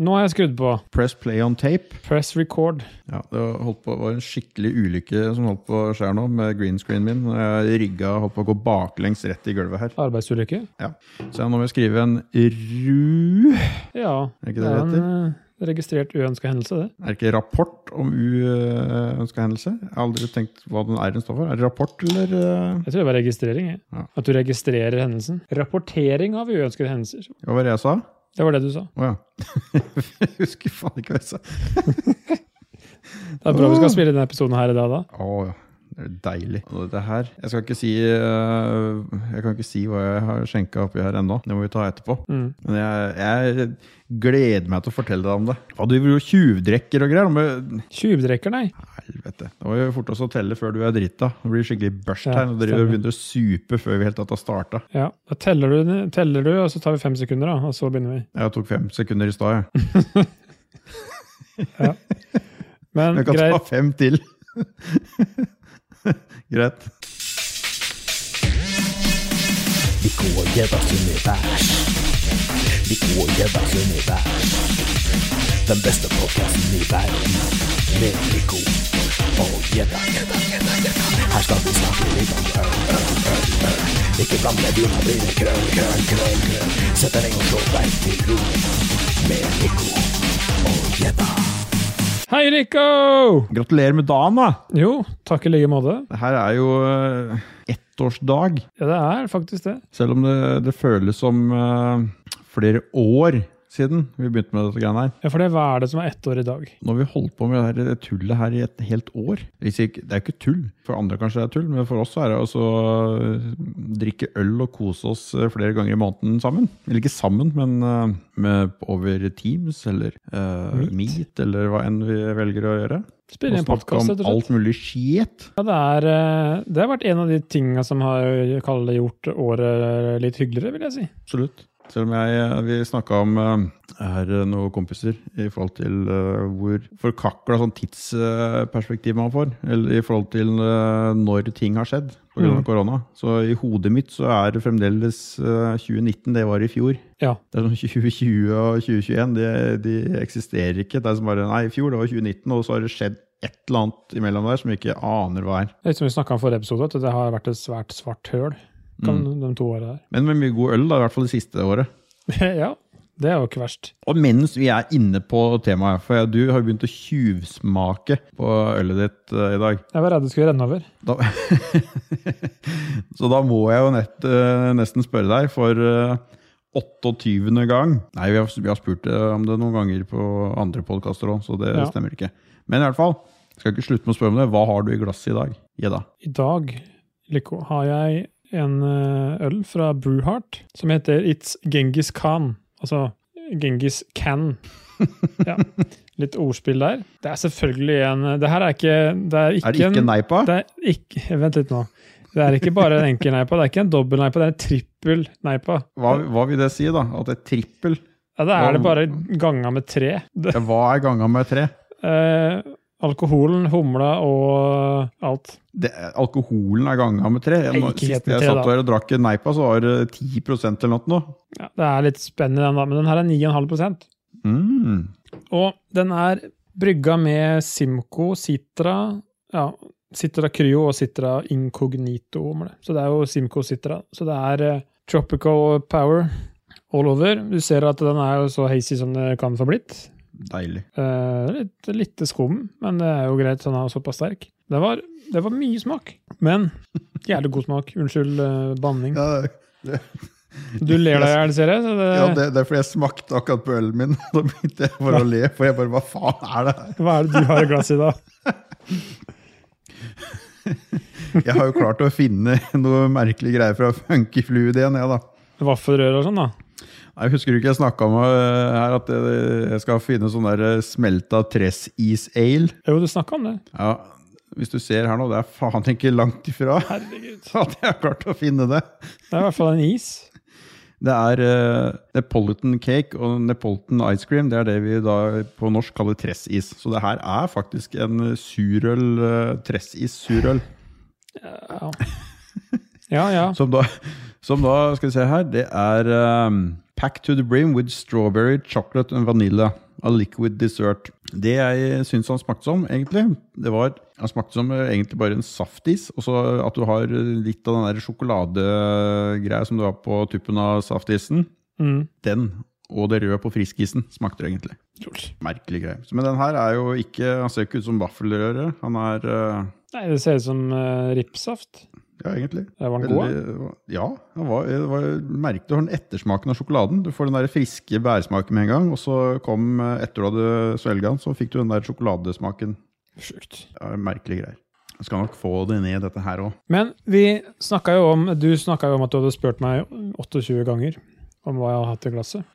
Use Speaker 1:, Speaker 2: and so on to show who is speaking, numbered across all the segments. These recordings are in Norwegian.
Speaker 1: Nå har jeg skrudd på.
Speaker 2: Press play on tape.
Speaker 1: Press record.
Speaker 2: Ja, det var, holdt på, var en skikkelig ulykke som holdt på å skje nå, med green screen min. Jeg rygga holdt på å gå baklengs rett i gulvet her.
Speaker 1: Arbeidsulykke.
Speaker 2: Ja. Så nå må jeg skrive en ru
Speaker 1: Ja.
Speaker 2: Er ikke
Speaker 1: det
Speaker 2: det
Speaker 1: er
Speaker 2: det
Speaker 1: en eh, registrert uønska hendelse, det.
Speaker 2: Er det ikke rapport om uønska hendelse? Jeg har aldri tenkt hva den R-en står for. Er det rapport, eller? eh?
Speaker 1: Jeg tror det var registrering. Jeg.
Speaker 2: Ja.
Speaker 1: At du registrerer hendelsen. Rapportering av uønskede hendelser.
Speaker 2: Hva var det jeg sa?
Speaker 1: Det var det du sa.
Speaker 2: Å ja. jeg husker faen ikke hva jeg sa.
Speaker 1: Det er bra vi skal spille denne episoden her i dag, da.
Speaker 2: Å ja. Det er deilig. Og dette her Jeg skal ikke si eh, Jeg kan ikke si hva jeg har skjenka oppi her ennå. Det må vi ta etterpå.
Speaker 1: Mm.
Speaker 2: Men jeg, jeg gleder meg til å fortelle deg om det. Hva du driver og tjuvdrekker og greier. Men
Speaker 1: Tjuvdrekker, nei.
Speaker 2: helvete. Det var jo fort oss å telle før du er drita. Det blir skikkelig børst
Speaker 1: Ja,
Speaker 2: her. Og dere
Speaker 1: stemmer.
Speaker 2: begynner å supe før vi helt tatt har starta.
Speaker 1: Ja, Da teller du, teller du, og så tar vi fem sekunder, da, og så begynner vi.
Speaker 2: Jeg tok fem sekunder i stad, jeg.
Speaker 1: Men
Speaker 2: Jeg kan ta
Speaker 1: greit.
Speaker 2: fem til. Greit.
Speaker 3: Vikoljedas univers. Vikoljedas univers. Den beste podkasten i verden. Med Viggo og Gjedda. Her skal vi snakke litt om øl, øl, øl, øl. Ikke bland med vin, da blir det krøll, krøll, krøll, krøll. Sett deg ned og slå deg til ro. Med Viggo og Gjedda.
Speaker 1: Hei, Rico!
Speaker 2: Gratulerer med dagen, da!
Speaker 1: Jo, takk i like måte.
Speaker 2: Det her er jo eh, ettårsdag.
Speaker 1: Ja, det er faktisk det.
Speaker 2: Selv om det, det føles som eh, flere år siden vi begynte med dette greiene her.
Speaker 1: Ja, For det, hva er det som er ett år i dag?
Speaker 2: Nå har vi holdt på med det her tullet her i et helt år. Hvis ikke, det er jo ikke tull. For andre kanskje det er tull, men for oss så er det altså øh, drikke øl og kose oss øh, flere ganger i måneden sammen. Eller ikke sammen, men øh, med over Teams eller øh,
Speaker 1: Meet.
Speaker 2: Meet, eller hva enn vi velger å gjøre. Og
Speaker 1: Spille inn
Speaker 2: snakke
Speaker 1: podkast,
Speaker 2: om
Speaker 1: rett og slett.
Speaker 2: alt mulig shit.
Speaker 1: Ja, det, er, eh, det har vært en av de tinga som har jeg kaller det, gjort året eh, litt hyggeligere, vil jeg si.
Speaker 2: Absolutt. Selv om jeg, øh, vi snakka om øh, her øh, noen kompiser i forhold til øh, hvor forkakla sånn tidsperspektiv man får. Eller i forhold til øh, når ting har skjedd pga.
Speaker 1: Mm.
Speaker 2: av korona. Så i hodet mitt så er det fremdeles øh, 2019, det var i fjor.
Speaker 1: Ja.
Speaker 2: Det er sånn 2020 og 2021, de, de eksisterer ikke. Det er som bare Nei, i fjor det var 2019, og så har det skjedd et eller annet imellom der som vi ikke aner hva er.
Speaker 1: Det er Litt som vi snakka om i forrige episode, at det har vært et svært svart høl kan, de to åra der.
Speaker 2: Men med mye god øl, da, i hvert fall det siste året.
Speaker 1: ja, det er jo ikke verst.
Speaker 2: Og mens vi er inne på temaet, for jeg, du har jo begynt å tjuvsmake på ølet ditt eh, i dag.
Speaker 1: Jeg var redd det skulle renne over.
Speaker 2: Da, så da må jeg jo nett, eh, nesten spørre deg for eh, 28. gang. Nei, vi har, vi har spurt eh, om det noen ganger på andre podkaster òg, så det
Speaker 1: Ja.
Speaker 2: stemmer ikke. Men i hvert fall, jeg skal ikke slutte med å spørre om det. Hva har du i glasset i dag? Gjedda.
Speaker 1: I dag, Lyko, har jeg en eh, øl fra Brewheart som heter It's Genghis Khan. Altså Genghis Can. Ja, litt ordspill der. Det er selvfølgelig en Det her er ikke Det er ikke,
Speaker 2: Er det ikke
Speaker 1: en
Speaker 2: neipa?
Speaker 1: det er ikke, Vent litt nå. Det er ikke bare en enkel neipa, det er ikke en dobbel neipa, det er en trippel neipa.
Speaker 2: Hva, hva vil det si, da? At det er trippel?
Speaker 1: Ja, da er det bare ganga med tre. Det,
Speaker 2: Ja, Hva er ganga med tre?
Speaker 1: eh, alkoholen, humla og alt.
Speaker 2: det, alkoholen er ganga med tre. Jeg,
Speaker 1: Nei,
Speaker 2: nå,
Speaker 1: ikke helt
Speaker 2: sist
Speaker 1: med
Speaker 2: jeg
Speaker 1: tre,
Speaker 2: satt
Speaker 1: da.
Speaker 2: der og drakk en neipa, så var det 10 eller noe. nå.
Speaker 1: Ja, det er litt spennende, den da, men den her er 9,5
Speaker 2: Mm.
Speaker 1: Og den er brygga med Simco, Citra ja, Citra Cryo og Citra Incognito. om det. Så det er jo Simco Citra. Så det er eh, tropical power all over. Du ser at den er jo så hazy som det kan få blitt.
Speaker 2: Deilig.
Speaker 1: Eh, litt, litt skum, men det er jo greit, han er jo såpass sterk. Det var, det var mye smak, men jævlig god smak. Unnskyld eh, banning. Du ler deg i hjel, ser jeg. Så det,
Speaker 2: er fordi jeg smakte akkurat på ølen min. Da begynte jeg bare å le, for jeg bare Hva faen er det her?
Speaker 1: Hva er det du har i glasset i dag?
Speaker 2: Jeg har jo klart å finne noe merkelig greier fra Funky Fluid igjen, jeg, da.
Speaker 1: Vaffelrør og sånn, da?
Speaker 2: Nei, Jeg husker du ikke jeg snakka om øh, her at øh, jeg skal finne sånn der øh, smelta tressis-ale?
Speaker 1: Jo, du snakka om det.
Speaker 2: Ja, hvis du ser her nå, det er faen ikke langt ifra
Speaker 1: Herregud.
Speaker 2: at jeg har klart å finne det.
Speaker 1: Det er i hvert fall en is.
Speaker 2: Det er eh, Neapolitan cake og Neapolitan ice cream. Det er det vi da på norsk kaller tressis. Så det her er faktisk en surøl, eh, tressis-surøl.
Speaker 1: Ja ja. ja.
Speaker 2: Som da, som da, skal vi se her, det er eh, Pack to the brim with strawberry, chocolate and vanilla. A liquid dessert. Det jeg syns han smakte som, egentlig, det var Han smakte som eh, egentlig bare en saftis. Og så at du har eh, litt av den der sjokoladegreia som du har på tuppen av saftisen.
Speaker 1: Mm.
Speaker 2: Den og det røde på friskisen smakte det egentlig.
Speaker 1: Lol.
Speaker 2: Merkelig greie. Men den her er jo ikke Han ser ikke ut som vaffelrøre. Han er eh,
Speaker 1: Nei, det ser ut som eh, ripsaft.
Speaker 2: Ja, egentlig.
Speaker 1: Det var den god. da.
Speaker 2: Veldig, eh, ja, det var, det var merket du har den ettersmaken av sjokoladen. Du får den der friske bærsmaken med en gang, og så kom eh, etter du hadde svelga den, så fikk du den der sjokoladesmaken.
Speaker 1: Sjukt.
Speaker 2: Ja, merkelige greier. Jeg skal nok få det ned, dette her òg.
Speaker 1: Men vi snakka jo om Du snakka jo om at du hadde spurt meg 28 ganger om hva jeg har hatt i glasset.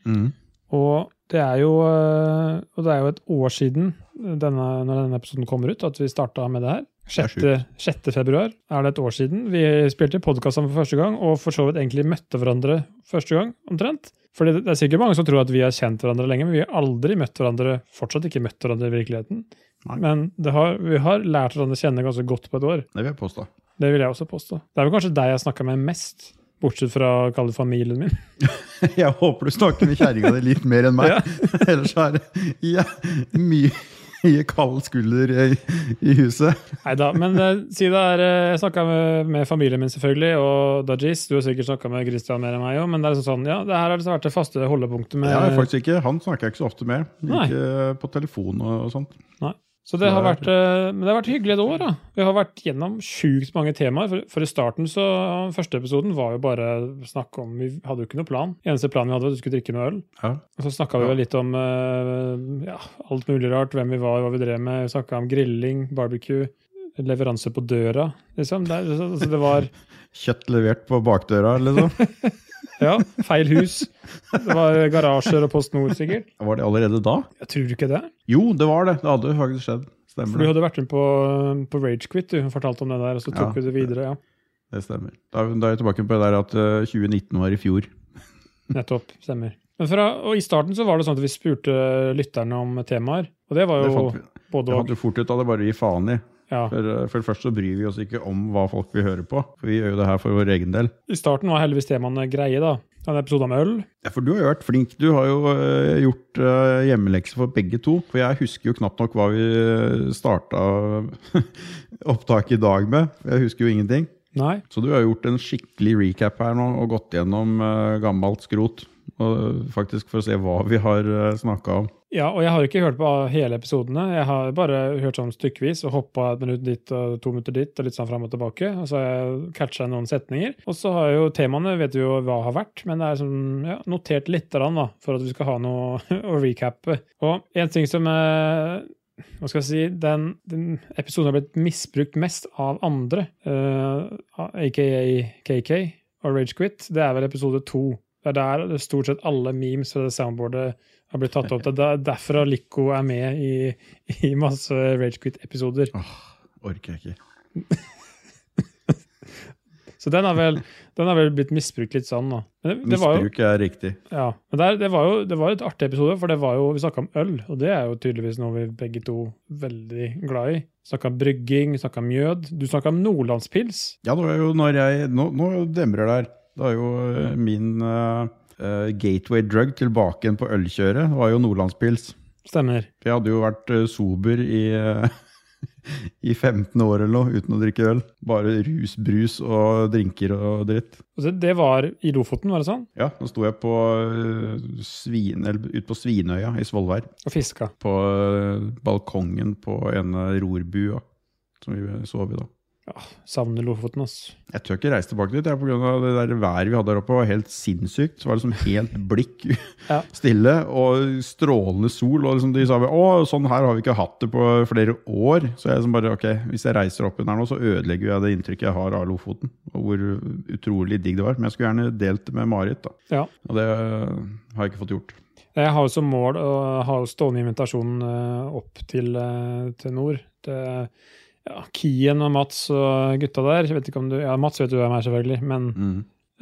Speaker 1: Og det er jo, øh, og det er jo et år siden denne, når denne episoden kommer ut, at vi starta med det her.
Speaker 2: er
Speaker 1: 6. 6. februar er det et år siden. Vi spilte podkast sammen for første gang, og for så vidt egentlig møtte hverandre første gang, omtrent. Fordi det det er sikkert mange som tror at vi har kjent hverandre lenge, men vi har aldri møtt hverandre, fortsatt ikke møtt hverandre i virkeligheten.
Speaker 2: Nei.
Speaker 1: Men det har, vi har lært hverandre å kjenne ganske godt på et år.
Speaker 2: Det vil jeg påstå.
Speaker 1: Det vil jeg også påstå. Det er vel kanskje deg jeg snakka med mest, bortsett fra kall det familien min.
Speaker 2: Jeg håper du snakker med kjerringa di litt mer enn meg.
Speaker 1: Ja.
Speaker 2: Ellers er det ja, mye, mye kald skulder i, i huset.
Speaker 1: Nei da, men eh, si det er eh, Jeg snakka med, med familien min, selvfølgelig, og Dajis. Du har sikkert snakka med Christian mer enn meg òg, men det er liksom sånn, ja, det her har liksom vært det faste holdepunktet med
Speaker 2: Jeg har faktisk ikke, Han snakker jeg ikke så ofte med.
Speaker 1: Nei.
Speaker 2: Ikke på telefon og, og sånt.
Speaker 1: Så det har
Speaker 2: Nei,
Speaker 1: vært, eh, men det har vært hyggelig et år, da. Vi har vært gjennom sjukt mange temaer. For, for i starten, så første episoden, var jo bare snakk om Vi hadde jo ikke noe plan. Eneste planen vi hadde, var at du skulle drikke noe øl.
Speaker 2: Ja.
Speaker 1: Og så snakka vi
Speaker 2: Ja.
Speaker 1: vel litt om eh, ja, alt mulig rart. Hvem vi var, hva vi drev med. Vi snakka om grilling, barbecue, leveranse på døra, liksom. Det, er- altså, det var
Speaker 2: Kjøtt levert på bakdøra, liksom.
Speaker 1: Ja, feil hus. Det var garasjer og Post Nord, sikkert.
Speaker 2: Var det allerede da?
Speaker 1: Jeg tror ikke det.
Speaker 2: Jo, det var det. Det hadde jo faktisk skjedd.
Speaker 1: For du
Speaker 2: Stemmer det.
Speaker 1: hadde vært med på, på Ragequit, du fortalte om det der, og så tok
Speaker 2: Ja.
Speaker 1: vi det videre. ja.
Speaker 2: Det stemmer. Da, da er vi tilbake på det der at eh, 2019 var i fjor.
Speaker 1: Nettopp. Stemmer. Men fra, og I starten så var det sånn at vi spurte lytterne om temaer, og det var
Speaker 2: Det
Speaker 1: jo
Speaker 2: fant vi, det
Speaker 1: både
Speaker 2: fant
Speaker 1: og.
Speaker 2: vi fort ut av det, bare å gi faen i.
Speaker 1: Ja.
Speaker 2: For, eh, for det første så bryr vi oss ikke om hva folk vil høre på. For vi gjør jo det her for vår egen del.
Speaker 1: I starten var heldigvis temaene greie, da. En episode om øl.
Speaker 2: Ja, for du har jo vært flink. Du har jo eh, gjort eh, hjemmelekser for begge to. For jeg husker jo knapt nok hva vi starta opptaket i dag med. Jeg husker jo ingenting.
Speaker 1: Nei.
Speaker 2: Så du har gjort en skikkelig recap her nå, og gått gjennom eh, gammelt skrot. Og eh, faktisk for å se hva vi har uh, snakka om.
Speaker 1: Ja, og jeg har jo ikke hørt på hele episodene. Jeg har bare hørt sånn stykkevis og hoppa et minutt dit og to minutter dit og litt sånn fram og tilbake. Og så har jeg catcha noen setninger. Og så har jeg jo temaene, vet vi jo hva har vært, men det er sånn, ja, notert lite grann, da, for at vi skal ha noe å recappe. Og en ting som eh, hva skal jeg si, den, den episoden har blitt misbrukt mest av andre, eh, aka KK og Ragequit. Det er vel episode to. Det er der det stort sett alle memes fra det soundboardet har blitt tatt opp. Det er der- derfor at Lico er med i, i masse Ragequit-episoder.
Speaker 2: Orker jeg ikke.
Speaker 1: Så den har vel, den har vel blitt misbrukt litt sånn, da. Men det, det var jo,
Speaker 2: Misbruk er riktig.
Speaker 1: ja. Men der, det var jo det var jo et artig episode, for det var jo, vi snakka om øl, og det er jo tydeligvis noe vi begge to veldig glad i. Snakka om brygging, snakka om mjød. Du snakka om nordlandspils.
Speaker 2: Ja, det var jo når jeg Nå, nå demrer det her. Det er jo eh, min eh, eh, gateway drug tilbake igjen på ølkjøret. Det var jo nordlandspils.
Speaker 1: Stemmer.
Speaker 2: For jeg hadde jo vært eh, sober i eh, i 15 år eller noe uten å drikke øl. Bare rus, brus og drinker og dritt.
Speaker 1: Og det, det var i Lofoten, var det sånn?
Speaker 2: Ja, nå sto jeg på eh, svin, eller ut på Svinøya i Svolvær.
Speaker 1: Og fiska.
Speaker 2: På eh, balkongen på ene rorbua som vi sov i da.
Speaker 1: Savner Lofoten, ass.
Speaker 2: Jeg tør ikke reise tilbake dit. Jeg, på grunn av det der været vi hadde der oppe, var helt sinnssykt. Så var det liksom helt blikk
Speaker 1: Ja.
Speaker 2: stille og strålende sol. Og liksom de sa å, sånn her har vi ikke hatt det på flere år. Så jeg liksom bare ok, hvis jeg reiser opp igjen her nå, så ødelegger jeg det inntrykket jeg har av Lofoten. Og hvor utrolig digg det var. Men jeg skulle gjerne delt det med Marit, da.
Speaker 1: Ja.
Speaker 2: Og det har jeg ikke fått gjort.
Speaker 1: Jeg har jo som mål å ha jo stående invitasjonen eh, opp til, eh, til nord. Det, ja, Kien og Mats og gutta der. Jeg vet ikke om du, ja, Mats vet du hvem er, selvfølgelig. Men,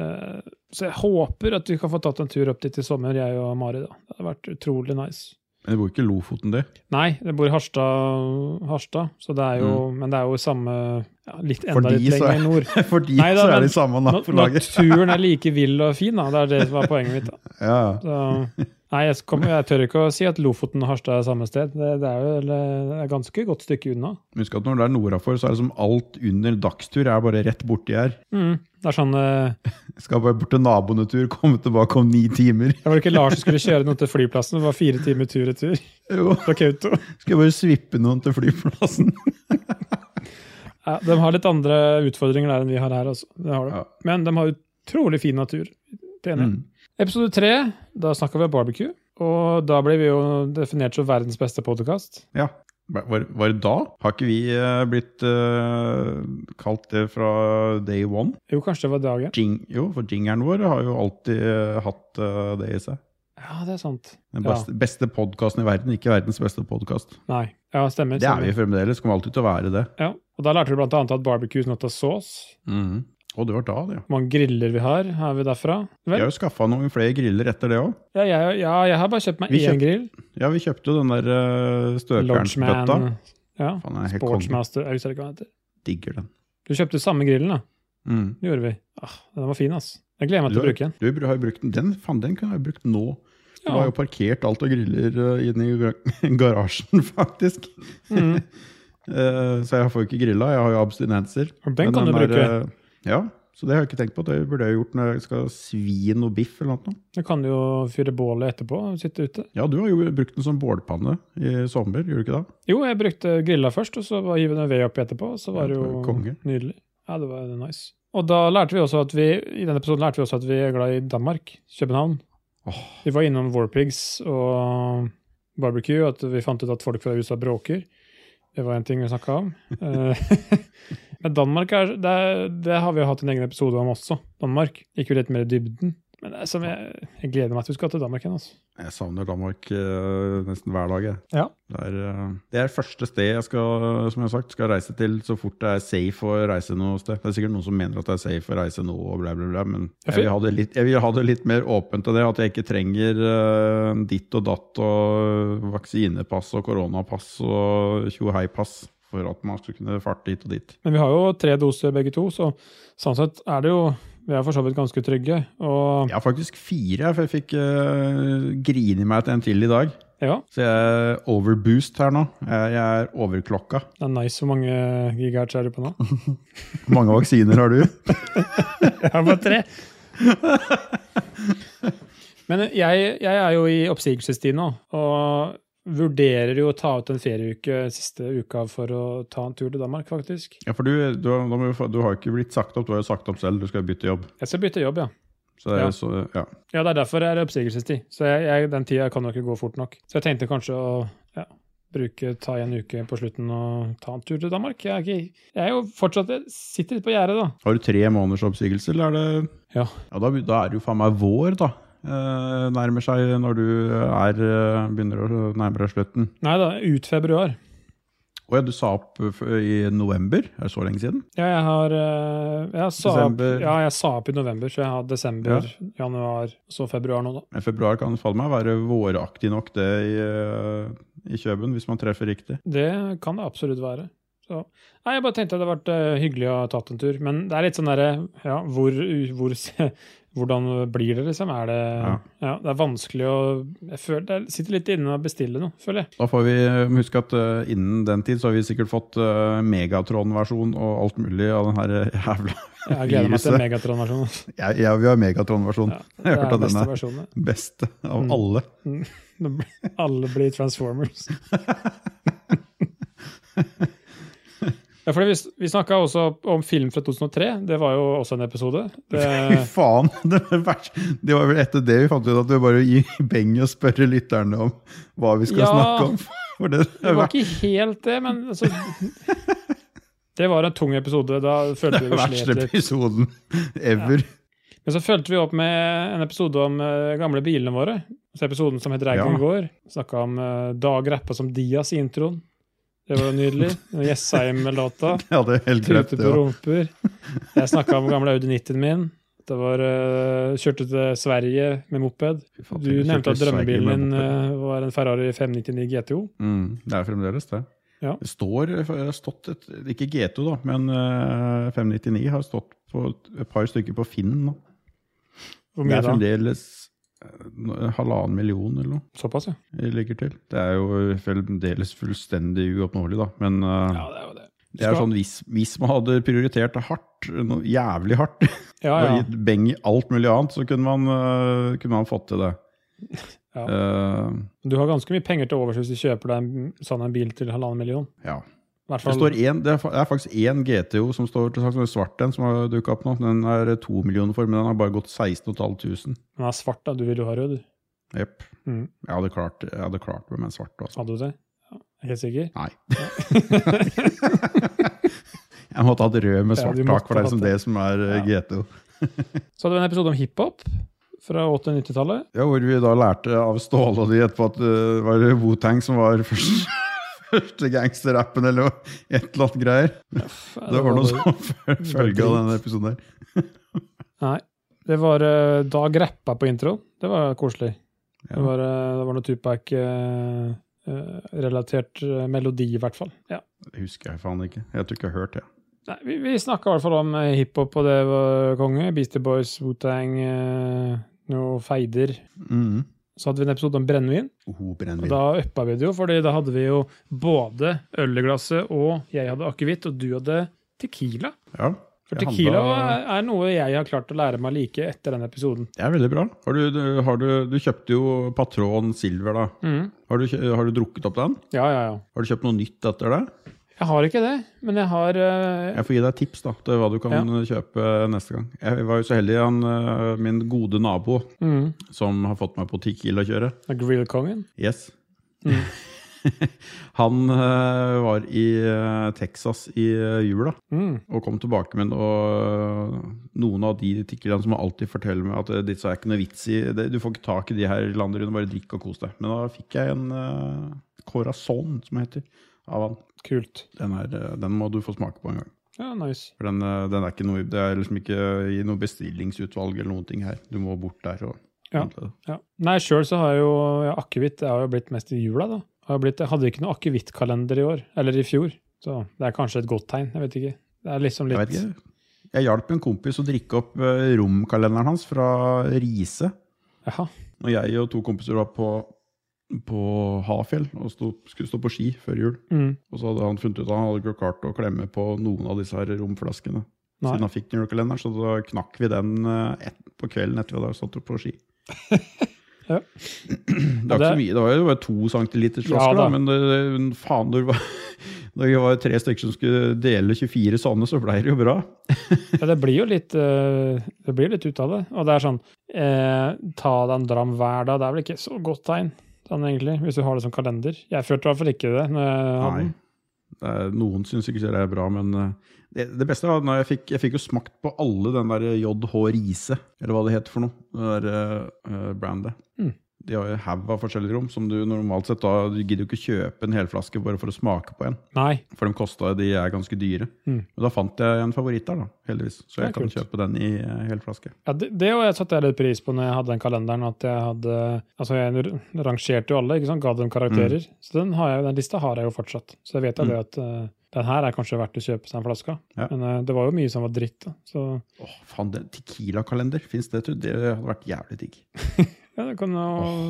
Speaker 1: eh, så jeg håper at vi kan få tatt en tur opp dit i sommer, jeg og Mari. da. Det hadde vært utrolig nice.
Speaker 2: Men det bor ikke i Lofoten, det.
Speaker 1: Nei, jeg bor i Harstad, Harstad så det er jo, men det er jo samme ja, litt Enda
Speaker 2: Mm. de
Speaker 1: litt
Speaker 2: så
Speaker 1: lenger
Speaker 2: er-
Speaker 1: nord.
Speaker 2: For de
Speaker 1: Nei da,
Speaker 2: så er
Speaker 1: men
Speaker 2: de samme
Speaker 1: Na-
Speaker 2: nabolaget.
Speaker 1: Naturen er like vill og fin, da. Det er det som er poenget mitt. Da.
Speaker 2: Ja.
Speaker 1: Så, nei, jeg, kommer- jeg tør ikke å si at Lofoten og Harstad er samme sted. Det, det er jo det er et ganske godt stykke unna.
Speaker 2: Husk at når det er nordafor, så er det som alt under dagstur er bare rett borti her.
Speaker 1: Mm, det er sånn eh,
Speaker 2: Skal bare bort til naboen en tur, komme tilbake om ni timer.
Speaker 1: Det var ikke Lars som skulle kjøre noe til flyplassen, det var fire timer tur-retur
Speaker 2: Jo,
Speaker 1: fra Kautokeino.
Speaker 2: skal bare svippe noen til flyplassen.
Speaker 1: Ja, de har litt andre utfordringer der enn vi har her. Altså. Det har de.
Speaker 2: Ja.
Speaker 1: Men de har utrolig fin natur. Det er enig.
Speaker 2: Mm.
Speaker 1: Episode tre, da snakka vi om barbecue. Og da ble vi jo definert som verdens beste podkast.
Speaker 2: Ja. Var, var det da? Har ikke vi eh, blitt eh, kalt det fra day one?
Speaker 1: Jo, kanskje det var dagen?
Speaker 2: Jing, jo, for jingeren vår har jo alltid eh, hatt eh, det i seg.
Speaker 1: Ja, det er sant.
Speaker 2: Den
Speaker 1: Ja.
Speaker 2: beste, beste podkasten i verden, ikke verdens beste podkast.
Speaker 1: Nei. Ja, sånn stemmer.
Speaker 2: Det er vi
Speaker 1: stemmer.
Speaker 2: fremdeles, kommer alltid til å være det.
Speaker 1: Ja. Og da lærte vi blant annet at barbecue is not a sauce.
Speaker 2: Og det var da, det. ja.
Speaker 1: Hvor mange griller vi har, har vi derfra?
Speaker 2: Vi
Speaker 1: Vel,
Speaker 2: har jo skaffa noen flere griller etter det òg.
Speaker 1: ja, jeg, ja, jeg har bare kjøpt meg
Speaker 2: Vi
Speaker 1: én
Speaker 2: kjøpte-
Speaker 1: grill.
Speaker 2: Ja, vi kjøpte jo den der uh, støpjernsbøtta.
Speaker 1: Lodgeman. Ja.
Speaker 2: Faen, jeg er helt konge.
Speaker 1: Sportsmaster. Jeg husker ikke hva den heter.
Speaker 2: Digger den.
Speaker 1: Du kjøpte samme grillen, da.
Speaker 2: Mm.
Speaker 1: Det gjorde vi. Ah, den var fin, ass. Jeg gleder meg
Speaker 2: Du
Speaker 1: til å
Speaker 2: har-
Speaker 1: bruke den.
Speaker 2: Du har jo brukt den. Den, faen, den kunne jeg jo brukt nå. Du
Speaker 1: Ja.
Speaker 2: har jo parkert alt og griller eh, inne i gar- garasjen, faktisk.
Speaker 1: Mm.
Speaker 2: Eh, så jeg får jo ikke grilla. Jeg har jo abstinenser.
Speaker 1: Og den
Speaker 2: Men
Speaker 1: kan du
Speaker 2: er,
Speaker 1: bruke.
Speaker 2: eh, ja, så det har jeg ikke tenkt på. Det burde jeg gjort når jeg skal svi noe biff eller noe.
Speaker 1: Da kan du jo fyre bålet etterpå og sitte ute.
Speaker 2: Ja, du har jo brukt den som bålpanne i sommer, gjorde du ikke det?
Speaker 1: Jo, jeg brukte grilla først, og så var- hiv den ved oppi etterpå. og Så var
Speaker 2: Ja,
Speaker 1: det
Speaker 2: det var
Speaker 1: jo
Speaker 2: konge.
Speaker 1: nydelig. Ja, det var nice. Og da lærte vi også at vi i denne episoden lærte vi også at vi er glad i Danmark, København.
Speaker 2: Åh.
Speaker 1: Vi var innom Warpigs og barbecue, at vi fant ut at folk fra USA bråker. Det var en ting vi snakka om. Eh, Men Danmark er, det, det har vi jo hatt en egen episode om også. Danmark gikk jo litt mer i dybden. Men det er som jeg, jeg gleder meg til vi skal til Danmark igjen. altså.
Speaker 2: Jeg savner Danmark eh, nesten hver dag. Jeg.
Speaker 1: Ja.
Speaker 2: Det, er, eh, det er første sted jeg skal, som jeg har sagt, skal reise til så fort det er safe å reise noe sted. Det er sikkert noen som mener at det er safe å reise nå, og bla, bla, bla, men
Speaker 1: Ja,
Speaker 2: jeg
Speaker 1: for-
Speaker 2: vil, ha det litt, jeg vil ha det litt mer åpent av det. At jeg ikke trenger eh, ditt og datt og vaksinepass og koronapass og tjohei-pass for at man skal kunne farte hit og dit.
Speaker 1: Men vi har jo tre doser begge to, så sånn sett er det jo Vi er for så vidt ganske trygge. Og
Speaker 2: Jeg har faktisk fire, for jeg fikk eh, grine i meg til en til i dag.
Speaker 1: ja,
Speaker 2: Så jeg er overboost her nå. Jeg, jeg er overklokka.
Speaker 1: det er nice hvor mange gigahertz er du på nå.
Speaker 2: Hvor mange vaksiner har du?
Speaker 1: Jeg har bare tre! Men jeg, jeg er jo i oppsigelsestid nå, og vurderer jo å ta ut en ferieuke siste uka for å ta en tur til Danmark, faktisk.
Speaker 2: Ja, for du, du, har- da må vi få- du har jo ikke blitt sagt opp, du har jo sagt opp selv. Du skal bytte jobb.
Speaker 1: Jeg skal bytte jobb, ja.
Speaker 2: Så det er
Speaker 1: Ja.
Speaker 2: jo så, ja.
Speaker 1: Ja, det er derfor jeg er i oppsigelsestid. Så jeg, jeg, den tida kan jo ikke gå fort nok. Så jeg tenkte kanskje å ja, bruke, ta en uke på slutten og ta en tur til Danmark. Jeg er, ikke, jeg er jo fortsatt jeg sitter litt på gjerdet, da.
Speaker 2: Har du tre måneders oppsigelse, eller er det
Speaker 1: Ja.
Speaker 2: da, da er det jo faen meg vår, da. Eh, nærmer seg når du er, eh, begynner å nærme deg slutten.
Speaker 1: Nei da, ut februar.
Speaker 2: Å ja, du sa opp eh, f- i november? Er det så lenge siden?
Speaker 1: Ja, jeg har eh, jeg sa, opp,
Speaker 2: Desember.
Speaker 1: ja, jeg sa opp i november, så jeg har desember, januar, så februar nå, da.
Speaker 2: Men februar kan faen meg være våraktig nok, det i, eh, i Kjøben, hvis man treffer riktig.
Speaker 1: Det kan det absolutt være. Så. Nei, jeg bare tenkte det hadde vært eh, hyggelig å ha tatt en tur. Men det er litt sånn derre Ja, hvor, hvor Hvordan blir det, liksom? Er det ja.
Speaker 2: Ja.
Speaker 1: det er vanskelig å Jeg føler det sitter litt inne og bestiller noe, føler jeg.
Speaker 2: Da får vi eh, huske at eh, innen den tid så har vi sikkert fått eh, Megatron-versjon og alt mulig av den her eh, jævla
Speaker 1: Jeg gleder meg til
Speaker 2: Viruset.
Speaker 1: Megatron-versjonen.
Speaker 2: Jeg, jeg vil ha Megatron-versjon.
Speaker 1: Ja,
Speaker 2: jeg
Speaker 1: det
Speaker 2: har
Speaker 1: er den
Speaker 2: hørt at den
Speaker 1: beste
Speaker 2: er
Speaker 1: versjonen.
Speaker 2: best av
Speaker 1: Mm.
Speaker 2: alle.
Speaker 1: Det blir- Alle blir Transformers. Ja, for vi vi snakka også om film fra 2003. Det var jo også en episode.
Speaker 2: Fy
Speaker 1: Det,
Speaker 2: faen! Det var, verst. det var vel etter det vi fant ut at vi bare gir beng i å spørre lytterne om hva vi skal
Speaker 1: Ja.
Speaker 2: snakke om. For det,
Speaker 1: Det
Speaker 2: er
Speaker 1: var
Speaker 2: verst.
Speaker 1: ikke helt det, men altså Det var en tung episode. Da følte vi
Speaker 2: Den
Speaker 1: vi
Speaker 2: verste
Speaker 1: slet litt.
Speaker 2: episoden ever.
Speaker 1: Men så fulgte vi opp med en episode om eh, gamle bilene våre. Så episoden som het Reiken
Speaker 2: Ja.
Speaker 1: går. Snakka om eh, Dag rappa som Dias i introen. Det var jo nydelig. Jessheim-låta.
Speaker 2: Jeg hadde helt
Speaker 1: Tute
Speaker 2: glemt det.
Speaker 1: på
Speaker 2: også.
Speaker 1: rumper. Jeg snakka om gamle Audi 90-en min. Det var eh, Kjørte til Sverige med moped.
Speaker 2: Fy faen,
Speaker 1: Du
Speaker 2: tenk, jeg kjørte
Speaker 1: nevnte at
Speaker 2: i Sverige med
Speaker 1: drømmebilen din
Speaker 2: moped.
Speaker 1: eh, var en Ferrari 599 GTO.
Speaker 2: Mm, det er fremdeles det.
Speaker 1: Ja.
Speaker 2: Det står, det har stått et, ikke G2 da, men eh, 599 har stått på et- et par stykker på Finn nå.
Speaker 1: Hvor
Speaker 2: Det
Speaker 1: mye
Speaker 2: er
Speaker 1: da?
Speaker 2: fremdeles eh, no- halvannen million eller noe
Speaker 1: Såpass, ja.
Speaker 2: det ligger eh, til. Det er jo fremdeles fullstendig uoppnåelig da, men eh,
Speaker 1: Ja, det er jo det.
Speaker 2: det er
Speaker 1: skal-
Speaker 2: sånn hvis, hvis man hadde prioritert det hardt, noe jævlig hardt,
Speaker 1: Ja,
Speaker 2: og
Speaker 1: ja.
Speaker 2: gitt beng i alt mulig annet, så kunne man, eh, kunne man fått til det.
Speaker 1: Ja.
Speaker 2: Eh,
Speaker 1: Du har ganske mye penger til overs hvis du kjøper deg en sånn en bil til halvannen million.
Speaker 2: ja.
Speaker 1: I hvert
Speaker 2: Det,
Speaker 1: fall
Speaker 2: står en, det er fa- det er faktisk én GTO som står til sagt, som er svart den som har dukka opp nå. Den er to millioner for, men den har bare gått 16 500.
Speaker 1: den er svart, da. Du ville jo ha rød. du.
Speaker 2: Jepp.
Speaker 1: Mm.
Speaker 2: Jeg hadde klart, jeg hadde klart meg med en svart. Altså.
Speaker 1: Hadde du det? Ja, jeg er helt sikker?
Speaker 2: Nei. jeg måtte hatt rød med
Speaker 1: Ja,
Speaker 2: svart
Speaker 1: du måtte
Speaker 2: tak for deg som
Speaker 1: hatt
Speaker 2: det som er eh, GTO.
Speaker 1: Så hadde vi en episode om hiphop fra 80- og 90-tallet.
Speaker 2: Ja, Hvor vi da lærte av Ståle og de etterpå at det var Wotang som var først. Første gangsterrappen eller noe- et eller annet greier. Det var noe som følge av denne episoden her.
Speaker 1: Nei. Det var eh, Dag Rappa på introen. Det var koselig.
Speaker 2: Ja.
Speaker 1: Det, var, eh, det var noe eh, Tupac-relatert eh, melodi, i hvert fall. Ja.
Speaker 2: Det husker jeg faen ikke. Jeg tror ikke jeg har hørt det.
Speaker 1: Nei, vi vi snakka i hvert fall om eh, hiphop, og det var konge. Beastie Boys, Wutang, uh, noe feider.
Speaker 2: Mm.
Speaker 1: Så hadde vi en episode om brennevin.
Speaker 2: Oh,
Speaker 1: Og
Speaker 2: brennevin.
Speaker 1: da uppa vi det jo, fordi da hadde vi jo både øl i glasset, og jeg hadde akevitt, og du hadde tequila.
Speaker 2: Ja.
Speaker 1: For
Speaker 2: det
Speaker 1: tequila
Speaker 2: handla-
Speaker 1: er- er noe jeg har klart å lære meg å like etter den episoden.
Speaker 2: Det er veldig bra. Har du, du, har du, du kjøpte jo Patron Silver, da.
Speaker 1: Mm.
Speaker 2: Har du, kjø- har du drukket opp den?
Speaker 1: Ja, ja, ja.
Speaker 2: Har du kjøpt noe nytt etter det?
Speaker 1: Jeg har ikke det, men jeg har eh,
Speaker 2: Jeg får gi deg tips da, til hva du kan kjøpe neste gang. Jeg var jo så heldig, han, øh, min gode nabo,
Speaker 1: mm,
Speaker 2: som har fått meg på Tequila-kjøret.
Speaker 1: Grillkongen.
Speaker 2: Yes. han øh, var i øh, Texas i øh, jula
Speaker 1: Mm.
Speaker 2: og kom tilbake med noe, eh, noen av de Tequilaene som han alltid forteller meg at øh, disse er ikke noe vits i. Det, du får ikke tak i de her i landet rundt, bare drikk og kos deg. Men da fikk jeg en øh, Corazon, som det heter, av han.
Speaker 1: Kult.
Speaker 2: Den, er, øh, den må du få smake på en gang.
Speaker 1: Ja, nice.
Speaker 2: For den, eh, den er ikke noe, det er liksom ikke i noe bestillingsutvalg eller noen ting her. Du må bort der og
Speaker 1: Ja.
Speaker 2: handle det.
Speaker 1: Ja. Nei, sjøl så har jeg jo ja, akevitt. Det har jo blitt mest i jula, da. Har jo blitt, jeg hadde ikke noe akevittkalender i år, eller i fjor. Så det er kanskje et godt tegn. Jeg vet ikke. Det er liksom
Speaker 2: Jeg
Speaker 1: litt
Speaker 2: vet ikke. Jeg hjalp en kompis å drikke opp eh, romkalenderen hans fra Riise.
Speaker 1: Jaha.
Speaker 2: Og jeg og to kompiser var på, på Hafjell og sto, skulle stå på ski før jul.
Speaker 1: Mm.
Speaker 2: Og så hadde han funnet ut at han hadde ikke klart å klemme på noen av disse her romflaskene.
Speaker 1: Nei.
Speaker 2: Siden han fikk den julekalenderen, så da knakk vi den eh, et, på kvelden etter vi hadde satt opp på ski.
Speaker 1: Ja.
Speaker 2: Det var ikke så mye, det var jo bare to centiliters
Speaker 1: Ja,
Speaker 2: flasker, da.
Speaker 1: da.
Speaker 2: men det, det- faen, når det var, når vi var tre stykker som skulle dele 24 sånne, så ble det jo bra.
Speaker 1: Ja, det blir jo litt, eh, det blir litt ut av det. Og det er sånn eh, Ta deg en dram hver dag. Det er vel ikke så godt tegn, sånn egentlig, hvis du har det som kalender. Jeg følte i hvert fall ikke det. Når jeg hadde
Speaker 2: Nei.
Speaker 1: den.
Speaker 2: Det er, noen syns ikke det er bra, men eh, det, det beste var når jeg fikk, jeg fikk jo smakt på alle den der JH Riise, eller hva det heter for noe, det der eh, brandet.
Speaker 1: Mm.
Speaker 2: De har jo haug av forskjellige rom, som du normalt sett da, du gidder jo ikke kjøpe en helflaske bare for å smake på en.
Speaker 1: Nei.
Speaker 2: For de kosta, de er ganske dyre.
Speaker 1: Mm.
Speaker 2: Men da fant jeg en favoritt der, da, heldigvis. Så
Speaker 1: Det er
Speaker 2: jeg kan
Speaker 1: kult.
Speaker 2: kjøpe den i eh, helflaske.
Speaker 1: Ja, det, det var- jeg satte jeg litt pris på når jeg hadde den kalenderen. At jeg hadde Altså, jeg r- rangerte jo alle, ikke sant? ga dem karakterer.
Speaker 2: Mm.
Speaker 1: Så den, har jeg, den lista har jeg jo fortsatt. Så jeg vet jo det at eh, den her er kanskje verdt å kjøpe seg en flaske av.
Speaker 2: Ja.
Speaker 1: Men eh, det var jo mye som var dritt, da. Så
Speaker 2: Åh, faen, det- Tequila-kalender, fins det, tror du? Det hadde vært jævlig digg.
Speaker 1: ja, det kan jo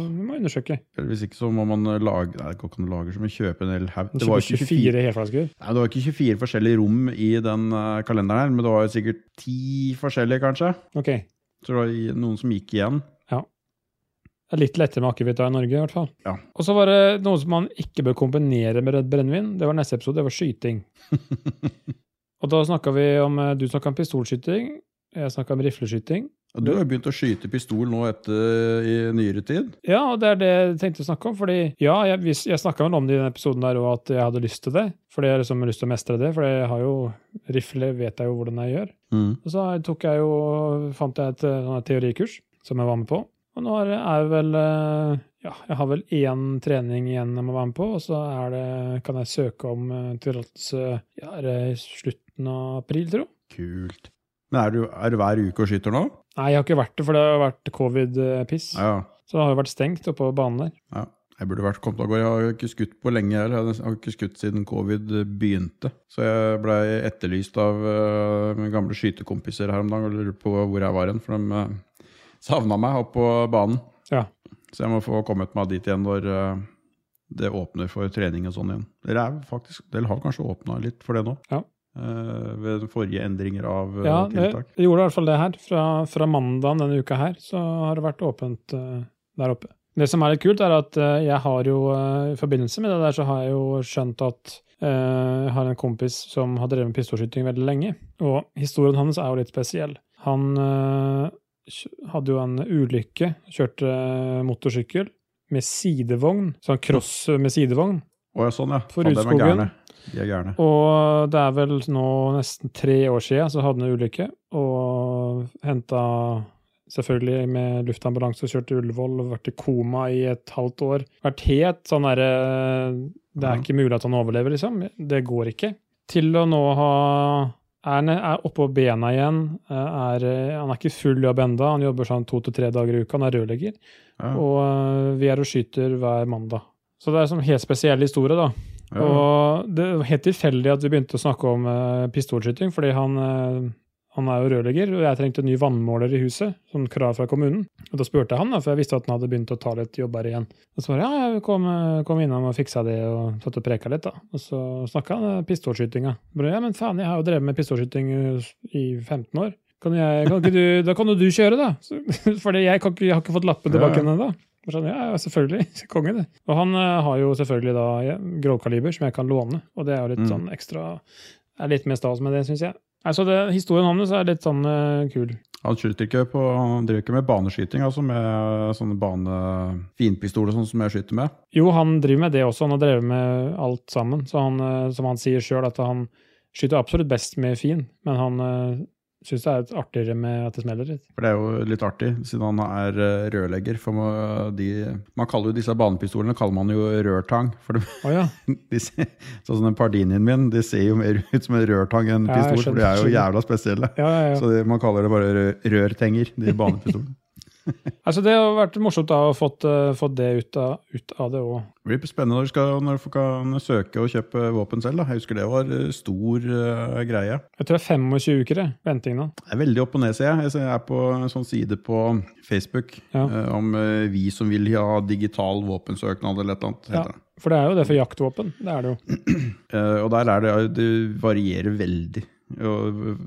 Speaker 1: Vi må undersøke.
Speaker 2: Eller Hvis ikke så må man eh, lage Nei, det går ikke an å lage så mye, kjøpe en hel haug.
Speaker 1: Du
Speaker 2: Det var
Speaker 1: kjøper
Speaker 2: jo
Speaker 1: 24 helflasker.
Speaker 2: Nei, Det var ikke 24 forskjellige rom i den eh, kalenderen, her, men det var jo sikkert 10 forskjellige, kanskje.
Speaker 1: Ok. Det
Speaker 2: Så det var i- noen som gikk igjen.
Speaker 1: er litt lettere med akevitt da i Norge, i hvert fall.
Speaker 2: Ja.
Speaker 1: Og så var det noe som man ikke bør kombinere med rødt brennevin. Det var neste episode, det var skyting. Og da snakka vi om eh, Du snakka om pistolskyting, jeg snakka om rifleskyting.
Speaker 2: Og du har jo begynt å skyte pistol nå etter i nyere tid.
Speaker 1: Ja, og det er det jeg tenkte å snakke om. fordi ja, jeg, hvis- jeg snakka vel om det i den episoden der òg, at jeg hadde lyst til det. Fordi jeg liksom har lyst til å mestre det. For jeg har jo rifle, vet jeg jo hvordan jeg gjør. Og så tok jeg jo, fant jeg et eh, sånn her teorikurs som jeg var med på. Og nå er jeg vel eh, Ja, jeg har vel én trening igjen jeg må være med på, og så er det, kan jeg søke om eh, tillatelse ja, er det i slutten av april, tro.
Speaker 2: Kult. Men er du, er du hver uke og skyter nå?
Speaker 1: Nei, jeg har ikke vært det, for det har vært covid-piss.
Speaker 2: Ja,
Speaker 1: Så det har jo vært stengt oppe på banen der.
Speaker 2: ja. Jeg burde vært kommet av gårde. Jeg har jo ikke skutt på lenge heller. Jeg har nesten- har ikke skutt siden covid begynte. Så jeg ble etterlyst av eh, mine gamle skytekompiser her om dagen og lurte på hvor jeg var hen, for de uh, savna meg oppe på banen.
Speaker 1: Ja.
Speaker 2: Så jeg må få kommet meg dit igjen når eh, det åpner for trening og sånn igjen. Dere er faktisk, dere har kanskje åpna litt for det nå?
Speaker 1: Ja.
Speaker 2: Eh, ved forrige endringer av eh,
Speaker 1: ja det
Speaker 2: tiltak?
Speaker 1: det gjorde i hvert fall det her. Fra, fra mandagen denne uka her så har det vært åpent eh, der oppe. Det som er litt kult, er at eh, jeg har jo eh, i forbindelse med det der, så har jeg jo skjønt at eh, jeg har en kompis som har drevet med pistolskyting veldig lenge. Og historien hans er jo litt spesiell. Han eh, kj- hadde jo en ulykke, kjørte eh, motorsykkel med sidevogn, sånn cross med sidevogn.
Speaker 2: Å ja, sånn ja.
Speaker 1: For
Speaker 2: ja, dem er
Speaker 1: Rudskogen.
Speaker 2: gærne. De er gærne.
Speaker 1: Og det er vel nå nesten tre år siden så hadde han en ulykke, og henta selvfølgelig med luftambulanse, kjørte Ullevål og vært i koma i et halvt år. Vært helt sånn derre Det er
Speaker 2: Mhm.
Speaker 1: ikke mulig at han overlever, liksom. Det går ikke. Til å nå ha er, ne- er oppå bena igjen. eh, Er, han er ikke full jobb enda, han jobber sånn to til tre dager i uka, han er rørlegger.
Speaker 2: Ja,
Speaker 1: Og øh, vi er og skyter hver mandag. Så det er en sånn helt spesiell historie, da.
Speaker 2: ja.
Speaker 1: Og det var helt tilfeldig at vi begynte å snakke om eh, pistolskyting, fordi han, eh, han er jo rørlegger, og jeg trengte en ny vannmåler i huset, som krav fra kommunen. Og da spurte jeg han, da, for jeg visste at han hadde begynt å ta litt jobber igjen. Og så bare ja, jeg kom, eh, kom innom og fiksa det, og satt og preka litt, da. Og så snakka han eh, pistolskytinga. Bare ja, men faen, jeg har jo drevet med pistolskyting eh, i 15 år. Kan jeg, kan ikke du, da kan jo du kjøre, da. Så, fordi jeg, kan ikke, jeg har ikke fått lappen tilbake
Speaker 2: Ja.
Speaker 1: ennå. Og Sånn, ja, ja, selvfølgelig. Konge, det. Og han eh, har jo selvfølgelig da ja, grovkaliber som jeg kan låne, og det er jo litt
Speaker 2: Mm.
Speaker 1: sånn ekstra er litt mer stas med det, syns jeg. Nei, så det, historien hans er litt sånn eh, kul.
Speaker 2: Han skyter ikke på Han driver ikke med baneskyting, altså med sånne bane... Finpistol og sånn som jeg skyter med.
Speaker 1: Jo, han driver med det også, han har drevet med alt sammen. Så han, eh, som han sier sjøl, at han skyter absolutt best med fin, men han uh, syns det er litt artigere med at det smeller litt.
Speaker 2: For det er jo litt artig, siden han er eh, rørlegger. For man, de, man kaller jo disse banepistolene kaller man jo rørtang. For de,
Speaker 1: Å ja.
Speaker 2: de ser, sånn som den pardinien min, de ser jo mer ut som en rørtang enn
Speaker 1: Ja, jeg
Speaker 2: pistol, for de er jo
Speaker 1: skjønner,
Speaker 2: jævla spesielle.
Speaker 1: Ja, ja, ja.
Speaker 2: Så de, man kaller det bare rø- rørtenger, de banepistolene.
Speaker 1: Altså, det har vært morsomt da, å ha fått, eh, fått det ut av, ut av det òg.
Speaker 2: Det blir spennende når du, skal, når du kan søke og kjøpe våpen selv. Da. Jeg husker det var eh, stor eh, greie.
Speaker 1: Jeg tror det er 25 uker, det, venting nå.
Speaker 2: Jeg er veldig opp og ned, ser jeg. Jeg ser- Jeg er på en sånn side på Facebook
Speaker 1: Ja.
Speaker 2: eh, om eh, vi som vil ha digital våpensøknad eller et eller annet.
Speaker 1: Ja.
Speaker 2: Heter det.
Speaker 1: For det er jo det for jaktvåpen. Det er det jo.
Speaker 2: Eh, og der er det Det varierer veldig. Og,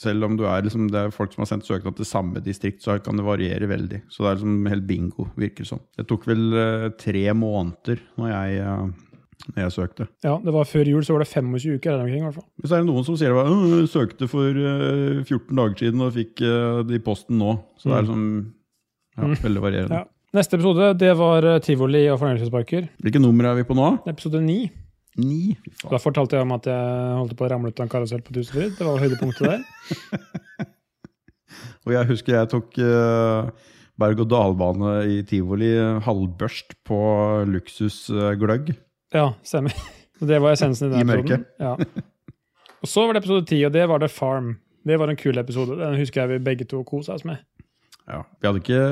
Speaker 2: selv om du er liksom, det er folk som har sendt søknad til samme distrikt, så kan det variere veldig. Så det er liksom helt bingo, virker det som. Det tok vel eh, tre måneder når jeg, eh, når jeg søkte.
Speaker 1: Ja, det var Før jul så var det 25 uker her omkring. i hvert fall.
Speaker 2: Men så er det noen som sier at de søkte for eh, 14 dager siden og fikk eh, det i posten nå. Så det er liksom ja, veldig varierende.
Speaker 1: Ja. Neste episode det var eh, tivoli og fornøyelsesparker.
Speaker 2: Hvilke nummer er vi på nå?
Speaker 1: Episode 9.
Speaker 2: Ni.
Speaker 1: Da fortalte jeg om at jeg holdt på å ramle ut av en karusell på Tusenfryd. Det var høydepunktet der.
Speaker 2: Og jeg husker jeg tok eh, berg-og-dal-bane i tivoli, eh, halvbørst på eh, luksusgløgg.
Speaker 1: Ja, stemmer. Og Det var essensen i
Speaker 2: I
Speaker 1: den
Speaker 2: mørket.
Speaker 1: episoden. Ja. Og så var det episode 10, og det var The Farm. Det var en kul episode. Den husker jeg vi begge to kosa oss med.
Speaker 2: Ja. Vi hadde ikke,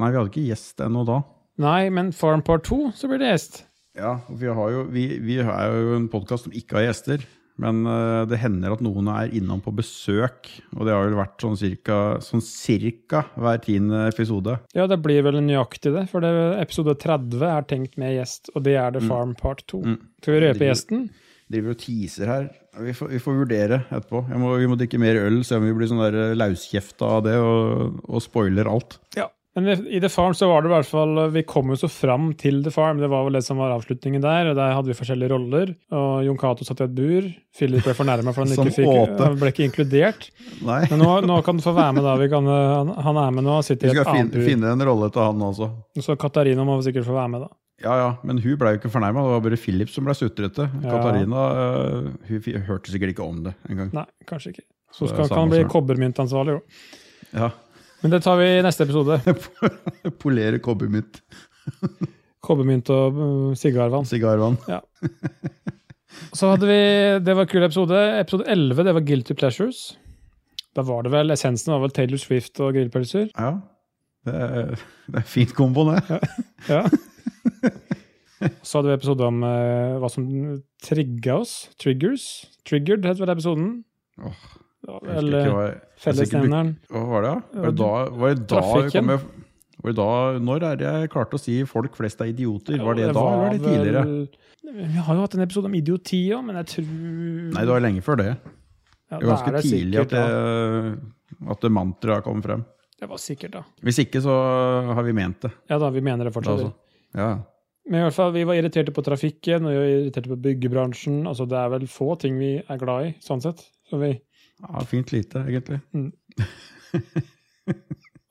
Speaker 2: nei, vi hadde ikke gjest ennå da.
Speaker 1: Nei, men Farm Part 2, så blir det gjest.
Speaker 2: Ja, og vi, har jo, vi, vi er jo en podkast som ikke har gjester. Men eh, det hender at noen er innom på besøk. Og det har vel vært sånn cirka, sånn cirka hver tiende episode.
Speaker 1: Ja, det blir vel nøyaktig det, for det, episode 30 er tenkt med gjest, og det er
Speaker 2: Mm.
Speaker 1: The Farm Part 2. Skal vi
Speaker 2: Det
Speaker 1: røpe
Speaker 2: blir-
Speaker 1: gjesten?
Speaker 2: Driver og teaser her. Vi får, vi får vurdere etterpå. Jeg må, vi må drikke mer øl, se om vi blir sånn der lauskjefta av det og, og spoiler alt.
Speaker 1: Ja. Men i- i The Farm så var det i hvert fall eh, Vi kom jo så fram til The Farm. Det var vel det som var avslutningen der. og Der hadde vi forskjellige roller. Og Jon Cato satt i et bur. Philip ble fornærma for han
Speaker 2: Som
Speaker 1: ikke fikk,
Speaker 2: åte.
Speaker 1: han ble ikke inkludert.
Speaker 2: Nei.
Speaker 1: Men nå, nå kan du få være med, da. Vi kan, eh, han, han er med nå. Han sitter i
Speaker 2: Vi
Speaker 1: et
Speaker 2: skal
Speaker 1: annet
Speaker 2: finne,
Speaker 1: bur.
Speaker 2: finne en rolle til han også.
Speaker 1: Så Katarina må sikkert få være med, da.
Speaker 2: Ja, ja, Men hun ble jo ikke fornærma. Det var bare Philip som ble sutrete.
Speaker 1: Ja.
Speaker 2: Katarina øh, hun fi- hørte sikkert ikke om det engang.
Speaker 1: Nei, kanskje ikke. Så
Speaker 2: Så det er
Speaker 1: skal,
Speaker 2: samme
Speaker 1: kan han bli
Speaker 2: som-
Speaker 1: kobbermyntansvarlig, jo.
Speaker 2: Ja.
Speaker 1: Men det tar vi i neste episode.
Speaker 2: Polere kobbermynt.
Speaker 1: Kobbermynt og eh, sigarvann.
Speaker 2: Sigarvann.
Speaker 1: Så hadde vi, Det var en kul episode. Episode 11 det var Guilty Pleasures. Da var det vel, Essensen var vel Taylor Swift og grillpølser.
Speaker 2: Ja. Det er, det er fint kombo, det.
Speaker 1: Ja. Så hadde vi episode om eh, hva som trigga oss. Triggers. Triggered het vel episoden.
Speaker 2: Åh,
Speaker 1: Ja,
Speaker 2: Jeg husker ikke
Speaker 1: Eller
Speaker 2: hva jeg- jeg husker ikke-
Speaker 1: fellesnevneren.
Speaker 2: Hva var det, da? Var det
Speaker 1: Ja,
Speaker 2: da, var det da jeg
Speaker 1: trafikken.
Speaker 2: kom med var det da, Når er det jeg klarte å si 'folk flest er idioter'? Var det,
Speaker 1: Ja,
Speaker 2: da, eller var det tidligere?
Speaker 1: vel- Vi har jo hatt en episode om idioti òg, men jeg tror
Speaker 2: Nei, det var lenge før det.
Speaker 1: Ja,
Speaker 2: Det
Speaker 1: da
Speaker 2: var ganske
Speaker 1: er det
Speaker 2: tidlig
Speaker 1: sikkert,
Speaker 2: at, det- at det mantraet kom frem.
Speaker 1: ja. Det var sikkert, da.
Speaker 2: Hvis ikke, så har vi ment det.
Speaker 1: Ja da, vi mener det
Speaker 2: Da,
Speaker 1: fortsatt.
Speaker 2: altså. Ja.
Speaker 1: Men i hvert fall, vi var irriterte på trafikken, og vi var irriterte på byggebransjen. Altså, det er vel få ting vi er glad i, sånn sett. Så vi...
Speaker 2: ja, fint lite, egentlig.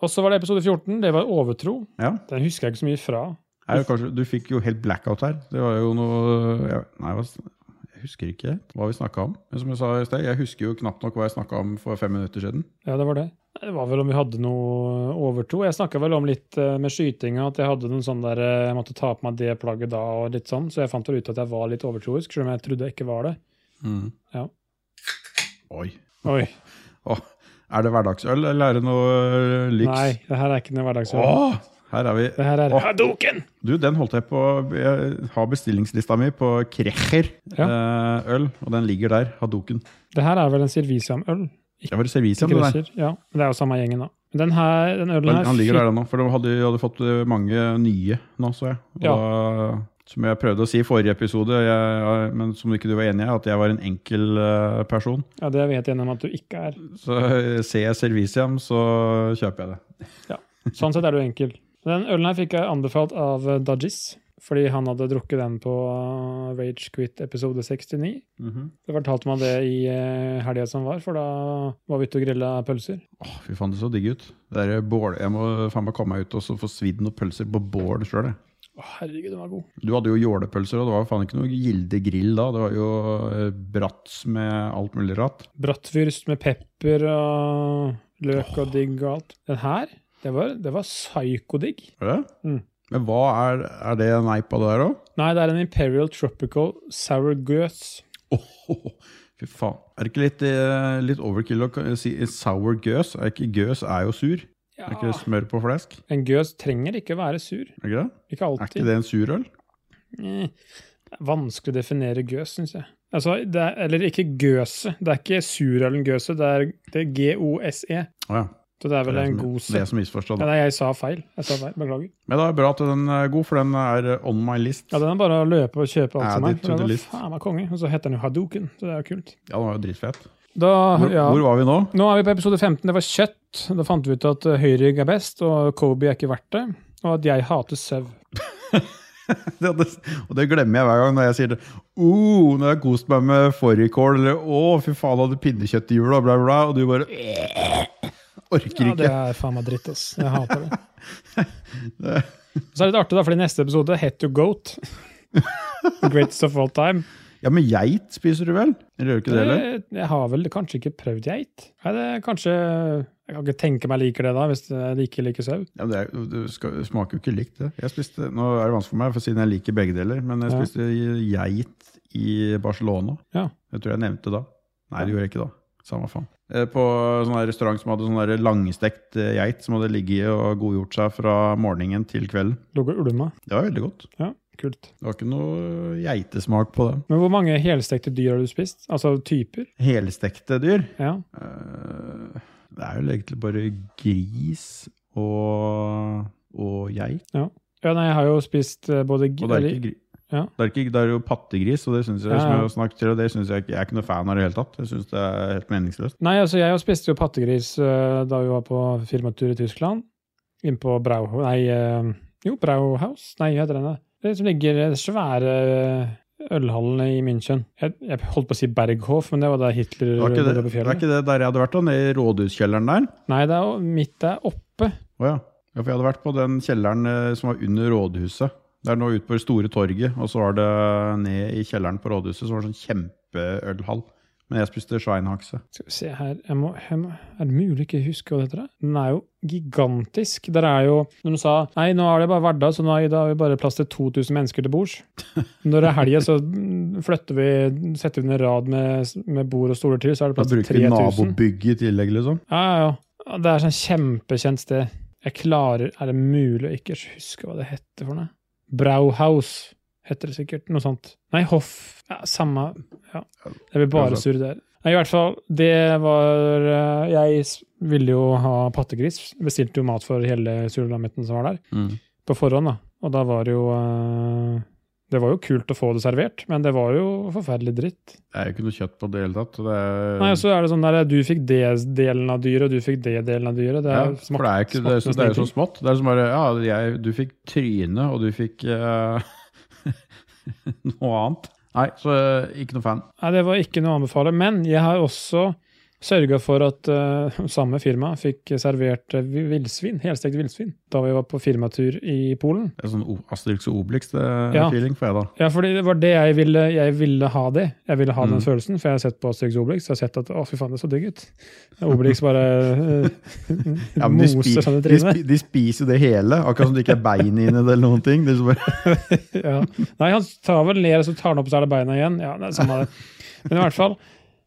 Speaker 1: Og så var det episode 14, det var overtro.
Speaker 2: Ja.
Speaker 1: Den husker jeg ikke så mye fra.
Speaker 2: Er det kanskje, du fikk jo helt blackout her. Det var jo noe ja, Nei, hva s- jeg husker ikke hva vi snakka om. Men som jeg sa i sted, jeg husker jo knapt nok hva jeg snakka om for fem minutter siden.
Speaker 1: Ja, det var det. Det var vel om vi hadde noe overtro. Jeg snakka vel om litt eh, med skytinga, at jeg hadde noen sånn der eh, Jeg måtte ta på meg det plagget da, og litt sånn. Så jeg fant vel ut at jeg var litt overtroisk, selv om jeg trodde jeg ikke var det. Ja.
Speaker 2: Oi.
Speaker 1: Oi.
Speaker 2: Åh, er det hverdagsøl, eller er det noe øh, lyks?
Speaker 1: Nei, det her er ikke noe hverdagsøl.
Speaker 2: Åh, her er vi.
Speaker 1: Det her er
Speaker 2: Åh.
Speaker 1: Hadoken!
Speaker 2: Du, den holdt jeg på Jeg har bestillingslista mi på Krecher eh, øl, og den ligger der. Hadoken.
Speaker 1: Det her er vel en Sirvisiam-øl.
Speaker 2: Det var servisen, det der.
Speaker 1: Grøsser. Ja, men det er jo samme gjengen, da. Men den her, den ølen
Speaker 2: Men
Speaker 1: her
Speaker 2: han ligger
Speaker 1: fikk-
Speaker 2: der nå, for de hadde, hadde fått eh, mange nye nå, så jeg. Og
Speaker 1: Ja.
Speaker 2: da, som jeg prøvde å si i forrige episode, jeg, men som ikke du var enig i, at jeg var en enkel eh, person.
Speaker 1: Ja, det vet jeg gjennom at du ikke er.
Speaker 2: Så eh, ser jeg Serviciam, så kjøper jeg det.
Speaker 1: Sånn sett er du enkel. Den ølen her fikk jeg anbefalt av eh, Dajis, fordi han hadde drukket den på eh, Rage Quit episode 69. Det fortalte meg det i eh, helga som var, for da var vi ute og grilla pølser.
Speaker 2: Åh, Fy faen, det så digg ut. Det der bål, Jeg må faen meg komme meg ut og så få svidd noen pølser på bål sjøl.
Speaker 1: Å, herregud, den var god.
Speaker 2: Du hadde jo jålepølser, og det var faen ikke noe gilde grill da. Det var jo eh, brats med alt mulig rart.
Speaker 1: Brattfyrst med pepper og løk og digg og alt. Den her, det var, det var psykodigg.
Speaker 2: Er det?
Speaker 1: Mm.
Speaker 2: Men hva er, er det en eip av det der òg?
Speaker 1: Nei, det er en Imperial Tropical Sour Goose.
Speaker 2: Fy faen. Er det ikke litt, eh, litt overkill å k- si sour gøs? Er ikke gøs er jo sur?
Speaker 1: Ja.
Speaker 2: Er ikke det smør på flesk?
Speaker 1: En gøs trenger ikke være sur.
Speaker 2: Er ikke det?
Speaker 1: Ikke
Speaker 2: Er
Speaker 1: alltid.
Speaker 2: ikke det en surøl?
Speaker 1: Eh, Det er vanskelig å definere gøs, syns jeg. Altså, det er, eller ikke gøse. Det er ikke surølen gøse, det er, det er GOSE.
Speaker 2: Å
Speaker 1: E.
Speaker 2: ja.
Speaker 1: Så det er vel
Speaker 2: det
Speaker 1: en
Speaker 2: som-
Speaker 1: god
Speaker 2: Det
Speaker 1: se.
Speaker 2: er som misforstått.
Speaker 1: Ja, nei, jeg sa feil. Jeg sa feil. Beklager.
Speaker 2: Men da er det bra at den er god, for den er eh, on my list.
Speaker 1: Ja, den er bare å løpe og kjøpe alt
Speaker 2: Add
Speaker 1: som er.
Speaker 2: it to the
Speaker 1: Den er
Speaker 2: list.
Speaker 1: faen meg konge. Og så heter den jo Hadoken, så det er jo kult.
Speaker 2: Ja, den var jo dritfett.
Speaker 1: Da,
Speaker 2: Hvor,
Speaker 1: Ah, ja.
Speaker 2: hvor var vi nå?
Speaker 1: Nå er vi på episode 15. Det var kjøtt. Da fant vi ut at eh, høyrygg er best, og Kobe er ikke verdt det. Og at jeg hater sau.
Speaker 2: Det, det, og det glemmer jeg hver gang når jeg sier det. Oh, når jeg har kost meg med fårikål, eller å, fy faen, hadde pinnekjøtt i jula, bla, bla, og du bare «Eh, Orker
Speaker 1: Ja, det
Speaker 2: ikke.
Speaker 1: er faen meg dritt, ass. Jeg hater det.
Speaker 2: Det-
Speaker 1: Så er det litt artig, da, fordi neste episode heter jo Goat. The greatest of all time.
Speaker 2: Ja, men geit spiser du vel? Eller gjør du ikke det, eller?
Speaker 1: Jeg, jeg har vel kanskje ikke prøvd geit. Nei, det er kanskje Jeg kan ikke tenke meg liker det, da, hvis jeg ikke liker sau.
Speaker 2: Ja, men det, er, det skal, det smaker jo ikke likt, det. Jeg spiste, nå er det vanskelig for meg, for siden jeg liker begge deler, men jeg
Speaker 1: Ja.
Speaker 2: spiste geit i Barcelona.
Speaker 1: Ja.
Speaker 2: Jeg tror jeg nevnte det da. Nei, det gjorde jeg ikke da. Samme faen. Eh, På sånn her restaurant som hadde sånn her langstekt eh, geit som hadde ligget og godgjort seg fra morgenen til kvelden.
Speaker 1: Lå og ulma.
Speaker 2: Det var veldig godt.
Speaker 1: Ja, kult.
Speaker 2: Det var ikke noe geitesmak på det.
Speaker 1: Men hvor mange helstekte dyr har du spist? Altså typer?
Speaker 2: Helstekte dyr?
Speaker 1: Ja.
Speaker 2: Eh, Det er jo egentlig bare gris og, og geit.
Speaker 1: ja nei, jeg har jo spist eh, både
Speaker 2: Og
Speaker 1: gi-
Speaker 2: det er,
Speaker 1: eller-
Speaker 2: ikke, gri-
Speaker 1: Ja.
Speaker 2: det er, ikke, det er jo pattegris, og det synes jeg,
Speaker 1: Ja,
Speaker 2: som
Speaker 1: ja.
Speaker 2: jeg har snakket til, og det synes jeg, ikke- jeg er ikke noe fan av det hele tatt. Jeg synes det er helt meningsløst.
Speaker 1: Nei, altså jeg spiste jo pattegris eh, da vi var på firmatur i Tyskland. Inn på Brauhaus Nei, eh, jo, Brauhaus? Nei, hva heter den da? Det som ligger i den svære eh, ølhallen i München. Jeg, jeg holdt på å si Berghof, men det var der Hitler
Speaker 2: Det var ikke det,
Speaker 1: bodde på
Speaker 2: det, var
Speaker 1: fjellet.
Speaker 2: ikke det der jeg hadde vært da, nede i rådhuskjelleren der.
Speaker 1: Nei, det er jo midt der oppe.
Speaker 2: Å ja. ja, for jeg hadde vært på den kjelleren eh, som var under rådhuset. Det er nå ute på det store torget, og så var det ned i kjelleren på rådhuset, så var det sånn kjempeølhall. Men jeg spiste schweinhakse.
Speaker 1: Skal vi se her jeg må, jeg må, Er det mulig ikke huske hva det heter? da? Den er jo gigantisk. Der er jo Når de sa nei, nå er det bare hverdag, så nå er- da har vi bare plass til 2000 mennesker til bords. Når det er helga, så mm, flytter vi, setter vi ned rad med, med bord og stoler til, så er det
Speaker 2: Da
Speaker 1: plass til
Speaker 2: bruker vi
Speaker 1: 3000.
Speaker 2: nabobygget i tillegg, liksom.
Speaker 1: Ja, ja, ja. Det er sånn kjempekjent sted. Jeg klarer Er det mulig å ikke huske hva det heter for noe? Brauhaus heter det sikkert. Noe sånt. Nei, Hoff. Ja, samme Ja. Jeg blir bare sur der. Nei, I hvert fall, det var eh, Jeg s- ville jo ha pattegris. Bestilte jo mat for hele surlammetten som var der, på forhånd, da. Og da var det jo eh, Det var jo kult å få det servert, men det var jo forferdelig dritt.
Speaker 2: Det er jo ikke noe kjøtt på det hele tatt. så Det er,
Speaker 1: Nei, og så er det sånn der du fikk D-delen av dyret, og du fikk D-delen av dyret. Det
Speaker 2: ja,
Speaker 1: er
Speaker 2: for det er, jo ikke, det, er, så-
Speaker 1: smakte
Speaker 2: det er jo så
Speaker 1: ingenting.
Speaker 2: smått. Det er som bare Ja, jeg, du fikk tryne, og du fikk eh, noe annet. Nei, så eh, ikke noe fan.
Speaker 1: Nei, det var ikke noe å anbefale. Men jeg har også sørga for at eh, samme firma fikk servert eh, villsvin, helstekt villsvin, da vi var på firmatur i Polen.
Speaker 2: Det er sånn O- Asterix og
Speaker 1: Ja.
Speaker 2: Obelix-feeling får jeg da.
Speaker 1: Ja, fordi det var det jeg ville. Jeg ville ha det. Jeg ville ha
Speaker 2: Mm.
Speaker 1: den følelsen, for jeg har sett på Asterix Obelix og sett at å, fy faen, det er så digg ut. Obelix bare eh,
Speaker 2: Ja, men de,
Speaker 1: moser
Speaker 2: spi-
Speaker 1: sånne
Speaker 2: de,
Speaker 1: trynet.
Speaker 2: spi- de spiser det hele, akkurat som det ikke er bein i det eller noen ting. Det er så bare,
Speaker 1: Ja. Nei, han tar vel ler, og så tar han opp, så er det beina igjen. Ja, det er samme det. Men i hvert fall,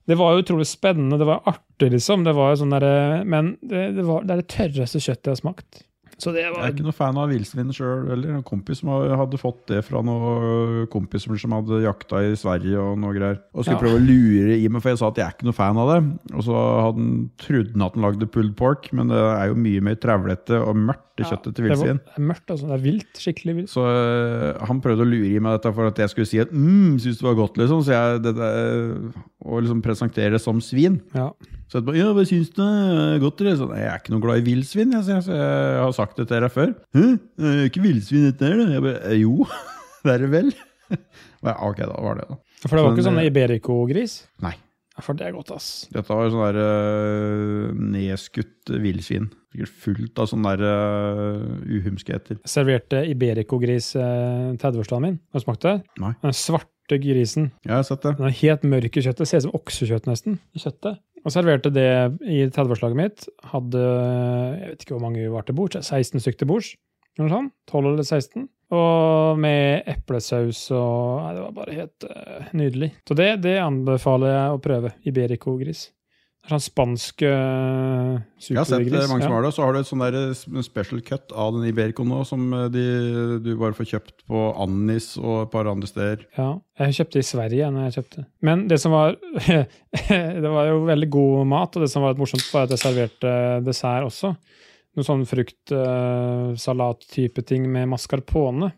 Speaker 1: det var jo utrolig spennende, det var artig, liksom. Det var jo sånn derre Men det, det var det er det tørreste kjøttet jeg har smakt. Så det
Speaker 2: jeg er
Speaker 1: var
Speaker 2: ikke noe fan av villsvin sjøl eller En kompis som har- hadde fått det fra noen øh, kompiser som hadde jakta i Sverige og noe greier. Og
Speaker 1: Ja.
Speaker 2: skulle prøve å lure i meg, for jeg sa at jeg er ikke noe fan av det. Og så hadde han trodde han at han lagde pulled pork, men det er jo mye mer trevlete og mørkt, det
Speaker 1: Ja,
Speaker 2: kjøttet til villsvin.
Speaker 1: Det, var- det er mørkt, altså. Det er vilt. Skikkelig vilt.
Speaker 2: Så øh, han prøvde å lure i meg dette for at jeg skulle si at mm, synes det var godt, liksom. Så jeg, det, det- og liksom presentere det som svin.
Speaker 1: Ja.
Speaker 2: Så etterpå, ja, hva syns du? Er det Godt, eller? Sånn, jeg er ikke noe glad i villsvin, jeg, sier jeg, så jeg har sagt det til deg før. Hæ? Det er ikke villsvin dette her, da? Jeg bare, «Eh, jo, det er det vel. Bare, ok, da var det, da.
Speaker 1: For det var ikke
Speaker 2: Men, eh,
Speaker 1: sånne Iberico-gris?
Speaker 2: Nei.
Speaker 1: Ja, For det er godt, ass.
Speaker 2: Dette var sånn der øh, nedskutt villsvin. Sikkert Fullt av sånne der øh, uhumskheter.
Speaker 1: Jeg serverte Iberico-gris eh, til 30-årsdagen min. Har du smakt det?
Speaker 2: Nei.
Speaker 1: Den svarte grisen.
Speaker 2: Ja, jeg har sett det.
Speaker 1: Den er helt mørk i kjøttet. Ser ut som oksekjøtt, nesten. i kjøttet. Og serverte det i 30-årslaget mitt. Hadde jeg vet ikke hvor mange vi var til bords, 16 stykker til bords. eller noe sånt. 12 eller 16. Og med eplesaus og Nei, det var bare helt eh, nydelig. Så det, det anbefaler jeg å prøve. Iberico-gris. Det er Sånn spansk uh,
Speaker 2: Jeg har sett
Speaker 1: supergris.
Speaker 2: det, mange
Speaker 1: ja.
Speaker 2: som har det. og Så har du et sånn der eh, special cut av den Iberico nå, som eh, de, du bare får kjøpt på Annis og et par andre steder.
Speaker 1: Ja, jeg kjøpte i Sverige når jeg kjøpte. Men det som var Det var jo veldig god mat, og det som var litt morsomt, var at jeg serverte dessert også. Noe sånn fruktsalat-type ting med mascarpone.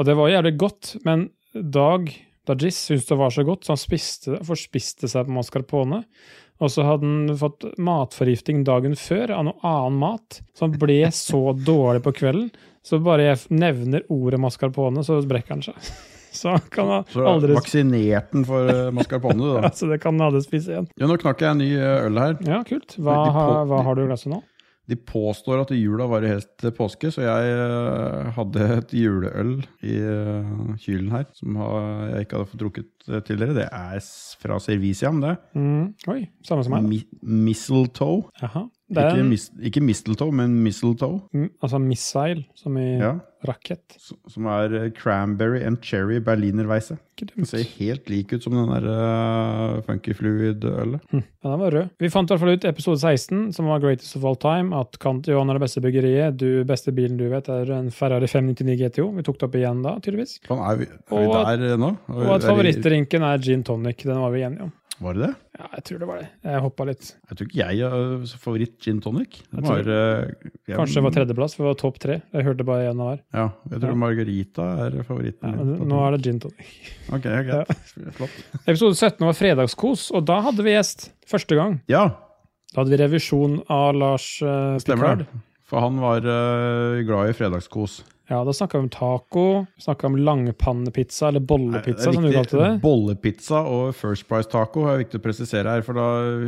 Speaker 1: Og det var jævlig godt, men Dag Dajis syntes det var så godt, så han spiste, forspiste seg på mascarpone. Og så hadde han fått matforgifting dagen før av noe annen mat, så han ble så dårlig på kvelden. Så bare jeg f- nevner ordet mascarpone, så brekker han seg. Så han kan ha
Speaker 2: Så
Speaker 1: aldri
Speaker 2: vaksinerte den for eh, mascarpone, du, da.
Speaker 1: altså, det kan han aldri spise igjen.
Speaker 2: Ja, nå knakk jeg en ny eh, øl her.
Speaker 1: Ja, kult. Hva,
Speaker 2: Men de
Speaker 1: har-
Speaker 2: på-
Speaker 1: hva har du i glasset nå?
Speaker 2: De påstår at jula varer helt til påske, så jeg eh, hadde et juleøl i eh, kylen her som har- jeg ikke hadde fått drukket eh, tidligere. Det er s- fra Serviciam, det.
Speaker 1: Mm. Oi, samme som meg.
Speaker 2: Mi mistletoe.
Speaker 1: Jaha. Det er
Speaker 2: Ikke,
Speaker 1: en,
Speaker 2: mis ikke mistletoe, men mistletoe.
Speaker 1: mm, altså missile, som i
Speaker 2: Ja.
Speaker 1: rakett.
Speaker 2: S- Som er eh, cranberry and cherry berlinerweisse.
Speaker 1: Ikke
Speaker 2: Den
Speaker 1: dumt.
Speaker 2: ser helt lik ut som den der eh, funky fluid-ølet.
Speaker 1: Ja, den var rød. Vi fant i hvert fall ut i episode 16, som var Greatest of All Time, at Kant Johan er det beste byggeriet. Du, beste bilen du vet, er en Ferrari 599 GTO. Vi tok det opp igjen da, tydeligvis.
Speaker 2: Faen, Sånn, Er vi, er
Speaker 1: Og
Speaker 2: vi
Speaker 1: at-
Speaker 2: der eh, nå? Er vi-
Speaker 1: Og at
Speaker 2: er vi-
Speaker 1: favorittdrinken er gin tonic. Den var vi enige om.
Speaker 2: Var det det?
Speaker 1: Ja, jeg tror det var det. Jeg hoppa litt.
Speaker 2: Jeg tror ikke jeg har favoritt gin tonic. Det
Speaker 1: Jeg
Speaker 2: var,
Speaker 1: tror-
Speaker 2: eh, jeg,
Speaker 1: Kanskje det var tredjeplass, for vi var topp tre. Jeg hørte bare én av hver.
Speaker 2: Ja, jeg tror
Speaker 1: Ja.
Speaker 2: margarita er
Speaker 1: Ja,
Speaker 2: favoritten. min
Speaker 1: men
Speaker 2: på
Speaker 1: nå
Speaker 2: tonic.
Speaker 1: er det gin tonic.
Speaker 2: Ok, ja, greit. Flott.
Speaker 1: Episode 17 var fredagskos, og da hadde vi gjest. Første gang.
Speaker 2: Ja,
Speaker 1: Da hadde vi revisjon av Lars eh,
Speaker 2: stemmer
Speaker 1: Picard.
Speaker 2: det. For han var eh, glad i fredagskos.
Speaker 1: Ja, da snakka vi om taco. Snakka om langpannepizza, eller bollepizza,
Speaker 2: Det er
Speaker 1: som du
Speaker 2: viktig.
Speaker 1: kalte det.
Speaker 2: Bollepizza og First Price taco er viktig å presisere her, for da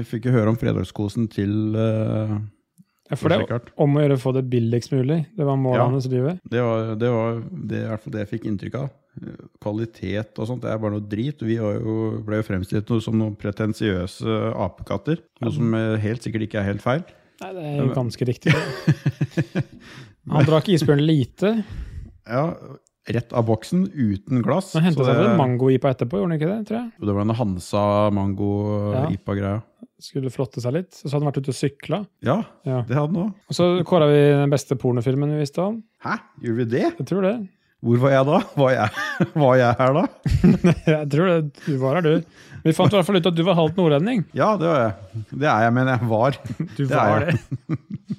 Speaker 2: fikk vi høre om fredagskosen til eh,
Speaker 1: Ja, for det er
Speaker 2: Richard.
Speaker 1: om å gjøre å få det billigst mulig. Det var målet
Speaker 2: Ja.
Speaker 1: hans i livet.
Speaker 2: Det var, det var det, i hvert fall det jeg fikk inntrykk av. eh, kvalitet og sånt, det er bare noe drit. Vi var jo, ble jo fremstilt noe som noen pretensiøse apekatter, noe som eh, helt sikkert ikke er helt feil.
Speaker 1: Nei, det er jo ganske riktig. Han drakk isbjørn lite.
Speaker 2: Ja, rett av boksen, uten glass.
Speaker 1: Han henta
Speaker 2: så
Speaker 1: seg vel
Speaker 2: det-
Speaker 1: en mango-ipa etterpå, gjorde han ikke det? tror jeg?
Speaker 2: Det var
Speaker 1: Ja.
Speaker 2: denne Hansa-mango-ipa-greia.
Speaker 1: Skulle flotte seg litt. Og så hadde han vært ute og sykla.
Speaker 2: Ja.
Speaker 1: Ja.
Speaker 2: det hadde han òg.
Speaker 1: Og så kåra vi den beste pornofilmen vi visste om.
Speaker 2: Hæ, gjorde vi det?
Speaker 1: Jeg tror det.
Speaker 2: Hvor var jeg da? Var jeg, var jeg her da?
Speaker 1: Jeg tror det. Du var her, du. Vi fant i hvert fall ut at du var halvt nordlending.
Speaker 2: Ja, det var jeg. Det er jeg, men jeg var.
Speaker 1: Du
Speaker 2: Det er
Speaker 1: var
Speaker 2: jeg.
Speaker 1: det.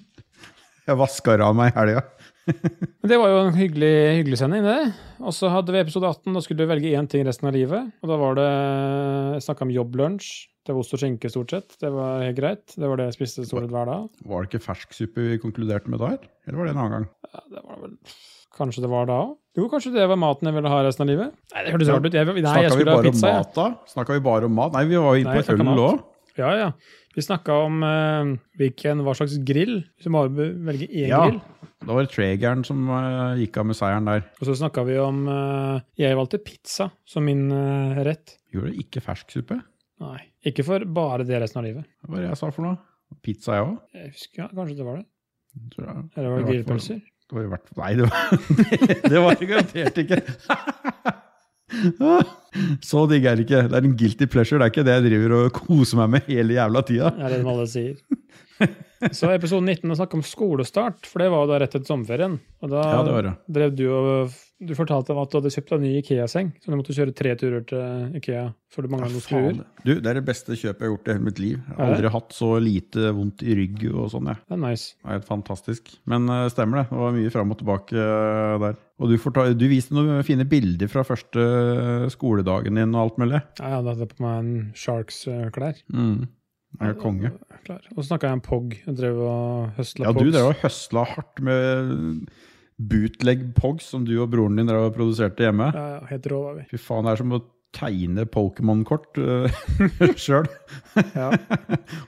Speaker 2: Jeg vasker av meg i helga.
Speaker 1: Men det var jo en hyggelig, hyggelig sending, det. Og så hadde vi episode 18, da skulle du velge én ting resten av livet. Og da var det Jeg snakka om jobblunsj. Det var ost og skinke, stort sett. Det var helt greit. Det var det jeg spiste stort sett hver dag.
Speaker 2: Var det ikke fersksuppe vi konkluderte med der? Eller var det en annen gang?
Speaker 1: Ja, det var vel Kanskje det var da òg? Jo, kanskje det var maten jeg ville ha resten av livet? Nei, det hørtes
Speaker 2: Ja.
Speaker 1: rart ut. Jeg, nei, jeg
Speaker 2: Snakka vi
Speaker 1: skulle ha
Speaker 2: bare
Speaker 1: pizza.
Speaker 2: om
Speaker 1: jeg.
Speaker 2: mat da? Snakka vi bare om mat? Nei, vi var jo
Speaker 1: Nei,
Speaker 2: inne
Speaker 1: jeg
Speaker 2: på
Speaker 1: snakket
Speaker 2: øl
Speaker 1: mat.
Speaker 2: òg.
Speaker 1: Ja, ja. Vi snakka om eh, hvilken, hva slags grill. Hvis du må velge én
Speaker 2: Ja.
Speaker 1: grill.
Speaker 2: Da var det Tregeren som eh, gikk av med seieren der.
Speaker 1: Og så snakka vi om eh, Jeg valgte pizza som min eh, rett.
Speaker 2: Gjorde det ikke fersksuppe?
Speaker 1: Nei. Ikke for bare det resten av livet.
Speaker 2: Hva var det jeg sa for noe? Pizza, jeg òg?
Speaker 1: Jeg husker ja, Kanskje det var det.
Speaker 2: Tror jeg.
Speaker 1: Eller var det
Speaker 2: Det var
Speaker 1: grillpølser?
Speaker 2: Det var i hvert fall Nei, det var, det var det garantert ikke. Så digg er det ikke. Det er en guilty pleasure. Det er ikke det jeg driver og koser meg med hele jævla tida.
Speaker 1: Det er det de alle sier. Så episode 19 å snakke om skolestart, for det var jo da rett etter sommerferien. Og da
Speaker 2: Ja, det var det.
Speaker 1: drev du og Du fortalte at du hadde kjøpt deg en ny Ikea-seng, så du måtte kjøre tre turer til Ikea før du mangla noen skruer.
Speaker 2: Du, det er det beste kjøpet jeg har gjort i hele mitt liv. Jeg har
Speaker 1: Er det?
Speaker 2: aldri hatt så lite vondt i rygg og sånn, jeg.
Speaker 1: Det er nice.
Speaker 2: Det er helt fantastisk. Men eh, stemmer det. Det var mye fram og tilbake eh, der. Og du, forta- du viste noen fine bilder fra første eh, skoledagen din og alt mulig.
Speaker 1: Ja, jeg hadde hatt på meg en Sharks-klær.
Speaker 2: Mm. Jeg er konge.
Speaker 1: Klar. Og så snakka jeg om POG. Jeg drev og høsla
Speaker 2: Ja, du
Speaker 1: Pogs.
Speaker 2: drev og høsla hardt med eh, bootleg pogs som du og broren din drev og produserte hjemme.
Speaker 1: Ja, ja, helt rå var vi.
Speaker 2: Fy faen, det er som å tegne Pokémon-kort sjøl
Speaker 1: Ja.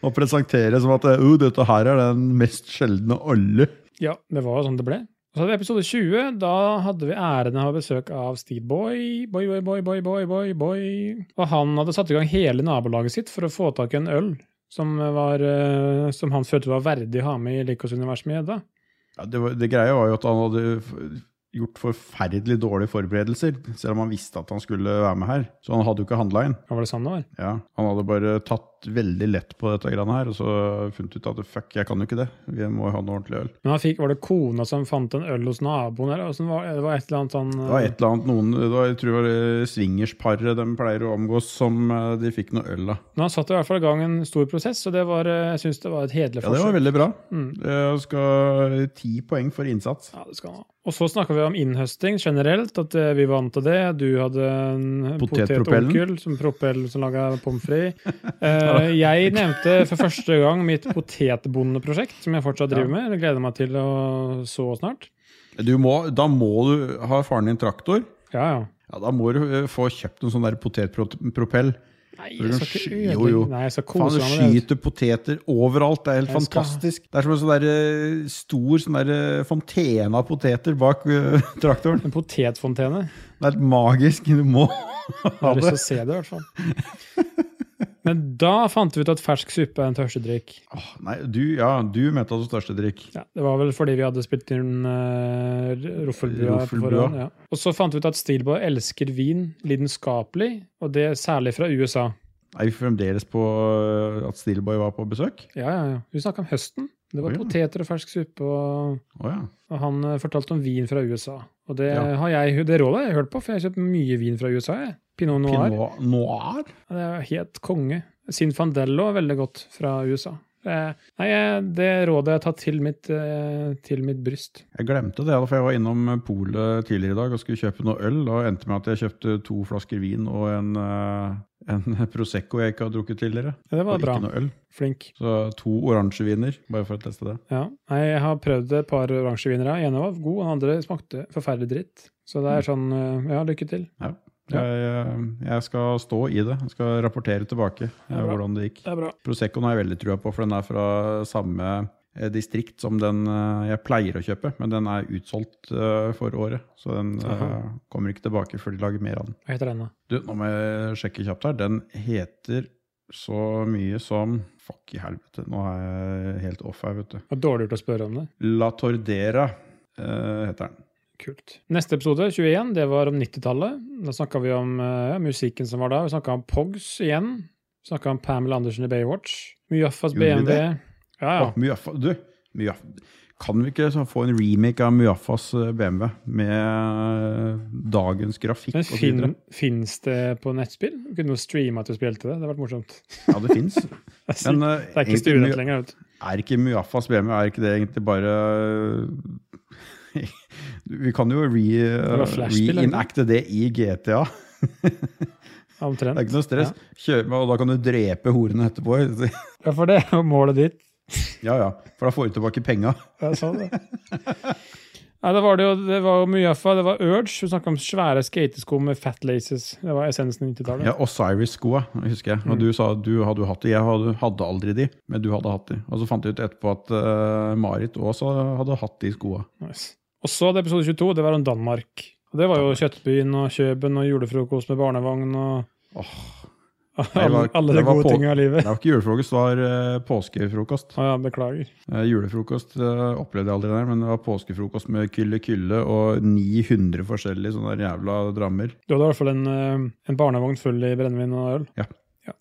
Speaker 2: og presentere som at uh, dette her er den mest sjeldne av alle.
Speaker 1: ja, det var jo sånn det ble. Og så hadde vi episode 20. Da hadde vi æren av å ha besøk av Steve Boy. Boy, boy, boy, boy, boy, boy, boy. Og han hadde satt i gang hele nabolaget sitt for å få tak i en øl som, var, eh, som han følte var verdig å ha med i Likos univers med Edda.
Speaker 2: Ja, det, var, det greia var jo at han hadde f- gjort forferdelig dårlige forberedelser, selv om han visste at han skulle være med her. Så han hadde jo ikke handla inn.
Speaker 1: Hva var det sånn det var?
Speaker 2: Ja, han hadde bare tatt veldig lett på dette greiene her, og så funnet ut at fuck, jeg kan jo ikke det. Vi må jo ha noe ordentlig øl.
Speaker 1: Men han fikk, var det kona som fant en øl hos naboen, eller? Åssen var, det var et eller annet sånn
Speaker 2: Det var et eller annet noen, det var, jeg tror det var det swingersparet de pleier å omgås, som eh, de fikk noe øl av.
Speaker 1: Men han satte i hvert fall i gang en stor prosess, og det var, eh, jeg syns det var et hederlig
Speaker 2: Ja, det
Speaker 1: forsøk.
Speaker 2: var veldig bra.
Speaker 1: Mm.
Speaker 2: Jeg skal eh, ti poeng for innsats.
Speaker 1: Ja, det skal han ha. Og så snakka vi om innhøsting generelt, at eh, vi var vant til det. Du hadde en
Speaker 2: Potetpropellen.
Speaker 1: potetonkel som propell som laga pommes frites. Eh, jeg nevnte for første gang mitt potetbondeprosjekt, som jeg fortsatt driver med. Jeg gleder meg til å så snart.
Speaker 2: Du må, da må du ha faren din traktor.
Speaker 1: Ja, ja.
Speaker 2: Ja, da må du eh, få kjøpt en sånn der potetpropell.
Speaker 1: Nei,
Speaker 2: Du
Speaker 1: jeg
Speaker 2: kan
Speaker 1: skal ikke
Speaker 2: sky- jo, jo.
Speaker 1: ødelegge Nei, jeg skal
Speaker 2: Faen,
Speaker 1: kose
Speaker 2: du
Speaker 1: meg med det.
Speaker 2: skyter poteter overalt. Det er helt
Speaker 1: Jeg skal-
Speaker 2: fantastisk. Det er som en sånn der, eh, stor sånn der, eh, fontene av poteter bak eh, traktoren.
Speaker 1: En potetfontene.
Speaker 2: Det er helt magisk. Du må
Speaker 1: Jeg
Speaker 2: ha
Speaker 1: har lyst til
Speaker 2: det.
Speaker 1: å se det, i hvert fall. Men da fant vi ut at fersk suppe er en tørstedrikk.
Speaker 2: Åh, nei, du, ja, du mente at det var største drikk.
Speaker 1: Ja, det var vel fordi vi hadde spilt inn uh, Roffelbrua. på
Speaker 2: Roffelbrua.
Speaker 1: forhånd, Ja. Og så fant vi ut at Steelboy elsker vin lidenskapelig, og det særlig fra USA.
Speaker 2: Er vi fremdeles på øh, at Steelboy var på besøk?
Speaker 1: Ja, ja, ja. Vi snakka om høsten. Det var
Speaker 2: Å, ja.
Speaker 1: poteter og fersk suppe, og,
Speaker 2: Å ja.
Speaker 1: og han eh, fortalte om vin fra USA. Og det,
Speaker 2: Ja.
Speaker 1: har jeg, det rådet har jeg hørt på, for jeg har kjøpt mye vin fra USA. Jeg. Pinot noir.
Speaker 2: Pinot noir?
Speaker 1: Ja, Det er helt konge. Sinfandello er veldig godt fra USA. Eh, Nei, jeg- det rådet jeg tar til mitt, eh, til mitt bryst.
Speaker 2: Jeg glemte det, for jeg var innom polet tidligere i dag og skulle kjøpe noe øl. Og endte med at jeg kjøpte to flasker vin og en, øh, en Prosecco jeg ikke har drukket tidligere.
Speaker 1: Ja, det var
Speaker 2: og
Speaker 1: bra.
Speaker 2: ikke noe øl.
Speaker 1: Flink.
Speaker 2: Så to oransjeviner, bare for å teste det.
Speaker 1: Ja. Nei, jeg har prøvd et par oransjevinere. Den ene var god, den andre smakte forferdelig dritt. Så det er sånn eh, Ja, lykke til. Ja.
Speaker 2: Jeg, øh, jeg skal stå i det. Jeg skal rapportere tilbake øh,
Speaker 1: Ja, bra.
Speaker 2: hvordan det gikk.
Speaker 1: Det er bra.
Speaker 2: Proseccoen har jeg veldig trua på, for den er fra samme eh, distrikt som den eh, jeg pleier å kjøpe, men den er utsolgt eh, for året. Så den eh,
Speaker 1: Aha.
Speaker 2: kommer ikke tilbake før de lager mer av den.
Speaker 1: Hva heter denne?
Speaker 2: Du, nå må jeg sjekke kjapt her. Den heter så mye som Fuck i helvete, nå er jeg helt off her, vet du.
Speaker 1: Det var dårlig gjort å spørre om det.
Speaker 2: La Tordera eh, heter den.
Speaker 1: Kult. Neste episode, 21, det var om 90-tallet. Da snakka vi om eh, musikken som var da. Vi snakka om Pogs igjen. Vi snakka om Pamela Andersen i Baywatch. Mujaffas
Speaker 2: Gjorde vi
Speaker 1: BMW.
Speaker 2: det?
Speaker 1: Ja, ja.
Speaker 2: Å, Mjøfa, du, Mjøf, kan vi ikke så få en remake av Mjøfas eh, BMW med eh, dagens grafikk
Speaker 1: Men
Speaker 2: og så videre?
Speaker 1: fin, Fins det på nettspill? Vi Kunne du streama at du spilte det? Det hadde vært morsomt.
Speaker 2: Ja, det fins.
Speaker 1: Det er ikke stuenett lenger. Vet. du.
Speaker 2: Er ikke Mjøfas BMW er ikke det egentlig bare eh, Vi kan jo re, eh,
Speaker 1: var flashspill,
Speaker 2: reenacte det i GTA. Det
Speaker 1: Omtrent.
Speaker 2: er ikke noe stress. Kjør med, og da kan du drepe horene etterpå.
Speaker 1: Ja. ja, for det er jo målet ditt.
Speaker 2: Ja ja, for da får du tilbake penga.
Speaker 1: Det er sånn, det. Nei, det var det jo det var jo Mujaffa, det var Urge. Hun snakka om svære skatesko med fat laces. Det var essensen i 90-tallet.
Speaker 2: Ja, Mm. Osiris-skoa, husker jeg. Og du sa at du hadde jo hatt de. Jeg hadde, hadde aldri de, men du hadde hatt de. Og så fant jeg ut etterpå at eh, Marit også hadde hatt de skoa.
Speaker 1: Nice. Og så hadde episode 22, det var om Danmark. Og det var jo Kjøttbyen og Kjøben og julefrokost med barnevogn og
Speaker 2: Nei, det
Speaker 1: alle,
Speaker 2: var-
Speaker 1: alle de
Speaker 2: det var
Speaker 1: gode
Speaker 2: på-
Speaker 1: tinga i
Speaker 2: Det
Speaker 1: livet.
Speaker 2: var ikke julefrokost, det var eh, påskefrokost.
Speaker 1: Å ja, beklager.
Speaker 2: Eh, julefrokost eh, opplevde jeg aldri der, men det var påskefrokost med Kylle Kylle og 900 forskjellige sånne jævla drammer.
Speaker 1: Du hadde i hvert fall en, eh, en barnevogn full i brennevin og øl.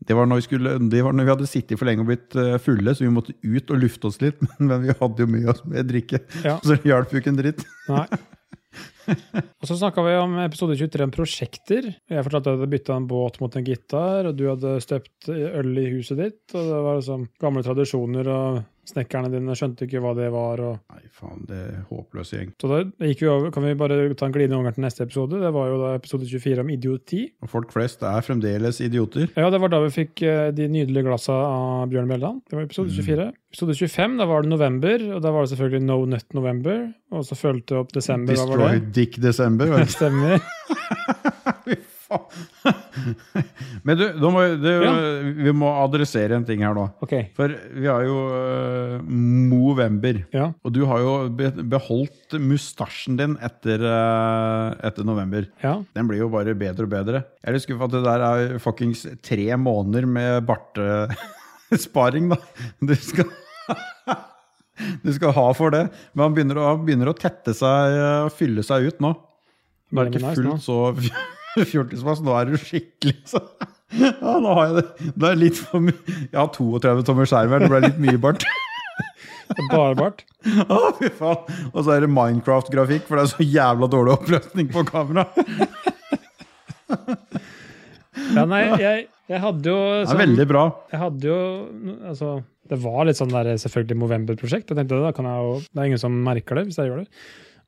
Speaker 2: Det var når vi, skulle, det var når vi hadde sittet for lenge og blitt eh, fulle, så vi måtte ut og lufte oss litt. Men, men vi hadde jo mye oss med drikke,
Speaker 1: Ja.
Speaker 2: så det hjalp jo ikke en dritt.
Speaker 1: Nei. Og så snakka vi om episode 23 om prosjekter. Jeg fortalte at jeg hadde bytta en båt mot en gitar, og du hadde støpt øl i huset ditt. Og det var liksom gamle tradisjoner, og snekkerne dine skjønte ikke hva det var. og
Speaker 2: Nei, faen, det er håpløs gjeng.
Speaker 1: Så da gikk vi over, kan vi bare ta en glidende overgang til neste episode. Det var jo da episode 24 om idioti.
Speaker 2: Og folk flest er fremdeles idioter.
Speaker 1: Ja, det var da vi fikk eh, de nydelige glassa av Bjørn Bjelland. Det var episode 24. Episode 25, da var det november, og da var det selvfølgelig No Nut November. Og så fulgte opp desember, hva var
Speaker 2: Destroy
Speaker 1: det?
Speaker 2: Dick December. var det ikke?
Speaker 1: Stemmer.
Speaker 2: Fy faen. Men du, nå må, det, vi må adressere en ting her nå.
Speaker 1: Ok.
Speaker 2: For vi har jo øh, Movember.
Speaker 1: Ja.
Speaker 2: Og du har jo be- beholdt mustasjen din etter, øh, etter november.
Speaker 1: ja.
Speaker 2: Den blir jo bare bedre og bedre. Jeg er litt skuffet at det der er fuckings tre måneder med bartesparing, da. Du skal, du skal ha for det. Men han begynner, å- han begynner å tette seg eh, og fylle seg ut nå. Nå er det ikke
Speaker 1: Veldig nice nå.
Speaker 2: fullt så fjortismass. Nå er du skikkelig så ja, Nå har jeg det. Det er litt for mye. Jeg har 32 tommer skjerm her. Det ble litt mye bart.
Speaker 1: Det er Bare bart.
Speaker 2: Å, fy faen. Og så er det Minecraft-grafikk, for det er så jævla dårlig oppløsning på kamera.
Speaker 1: Ja, nei, jeg, jeg hadde jo
Speaker 2: Det er
Speaker 1: sånn,
Speaker 2: veldig bra.
Speaker 1: Jeg hadde jo Altså, det var litt sånn der selvfølgelig Movember-prosjekt. Jeg tenkte da kan jeg jo Det er ingen som merker det hvis jeg gjør det.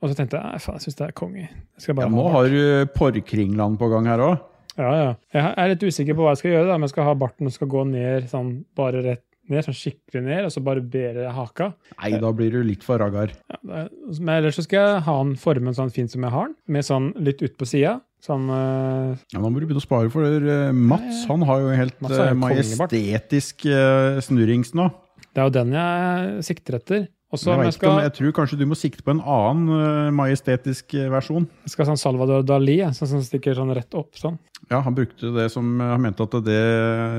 Speaker 1: Og så tenkte jeg nei, faen, jeg syns det er konge. Jeg skal
Speaker 2: Ja,
Speaker 1: bare
Speaker 2: nå
Speaker 1: ha
Speaker 2: har du Porkringland på gang her òg.
Speaker 1: Ja, ja. Jeg er litt usikker på hva jeg skal gjøre. Da. Om jeg skal ha barten og skal gå ned sånn bare rett ned, sånn skikkelig ned, og så barbere haka.
Speaker 2: Nei, da blir du litt for ragar.
Speaker 1: Ja, det er, men ellers så skal jeg ha den formen sånn fin som jeg har den, med sånn litt ut på sida. Sånn eh,
Speaker 2: Ja, Nå må du begynne å spare for eh, Mats. Han har jo helt
Speaker 1: Mats har
Speaker 2: eh,
Speaker 1: jo kongebart.
Speaker 2: majestetisk eh, snurrings nå.
Speaker 1: Det er jo den jeg sikter etter. Og så
Speaker 2: jeg,
Speaker 1: om
Speaker 2: vet
Speaker 1: jeg
Speaker 2: ikke om,
Speaker 1: skal,
Speaker 2: jeg tror kanskje du må sikte på en annen eh, majestetisk eh, versjon.
Speaker 1: jeg skal ha sånn Salvador Dali, jeg, sånn som stikker sånn rett opp. sånn.
Speaker 2: Ja, Han brukte det som, eh, han mente at det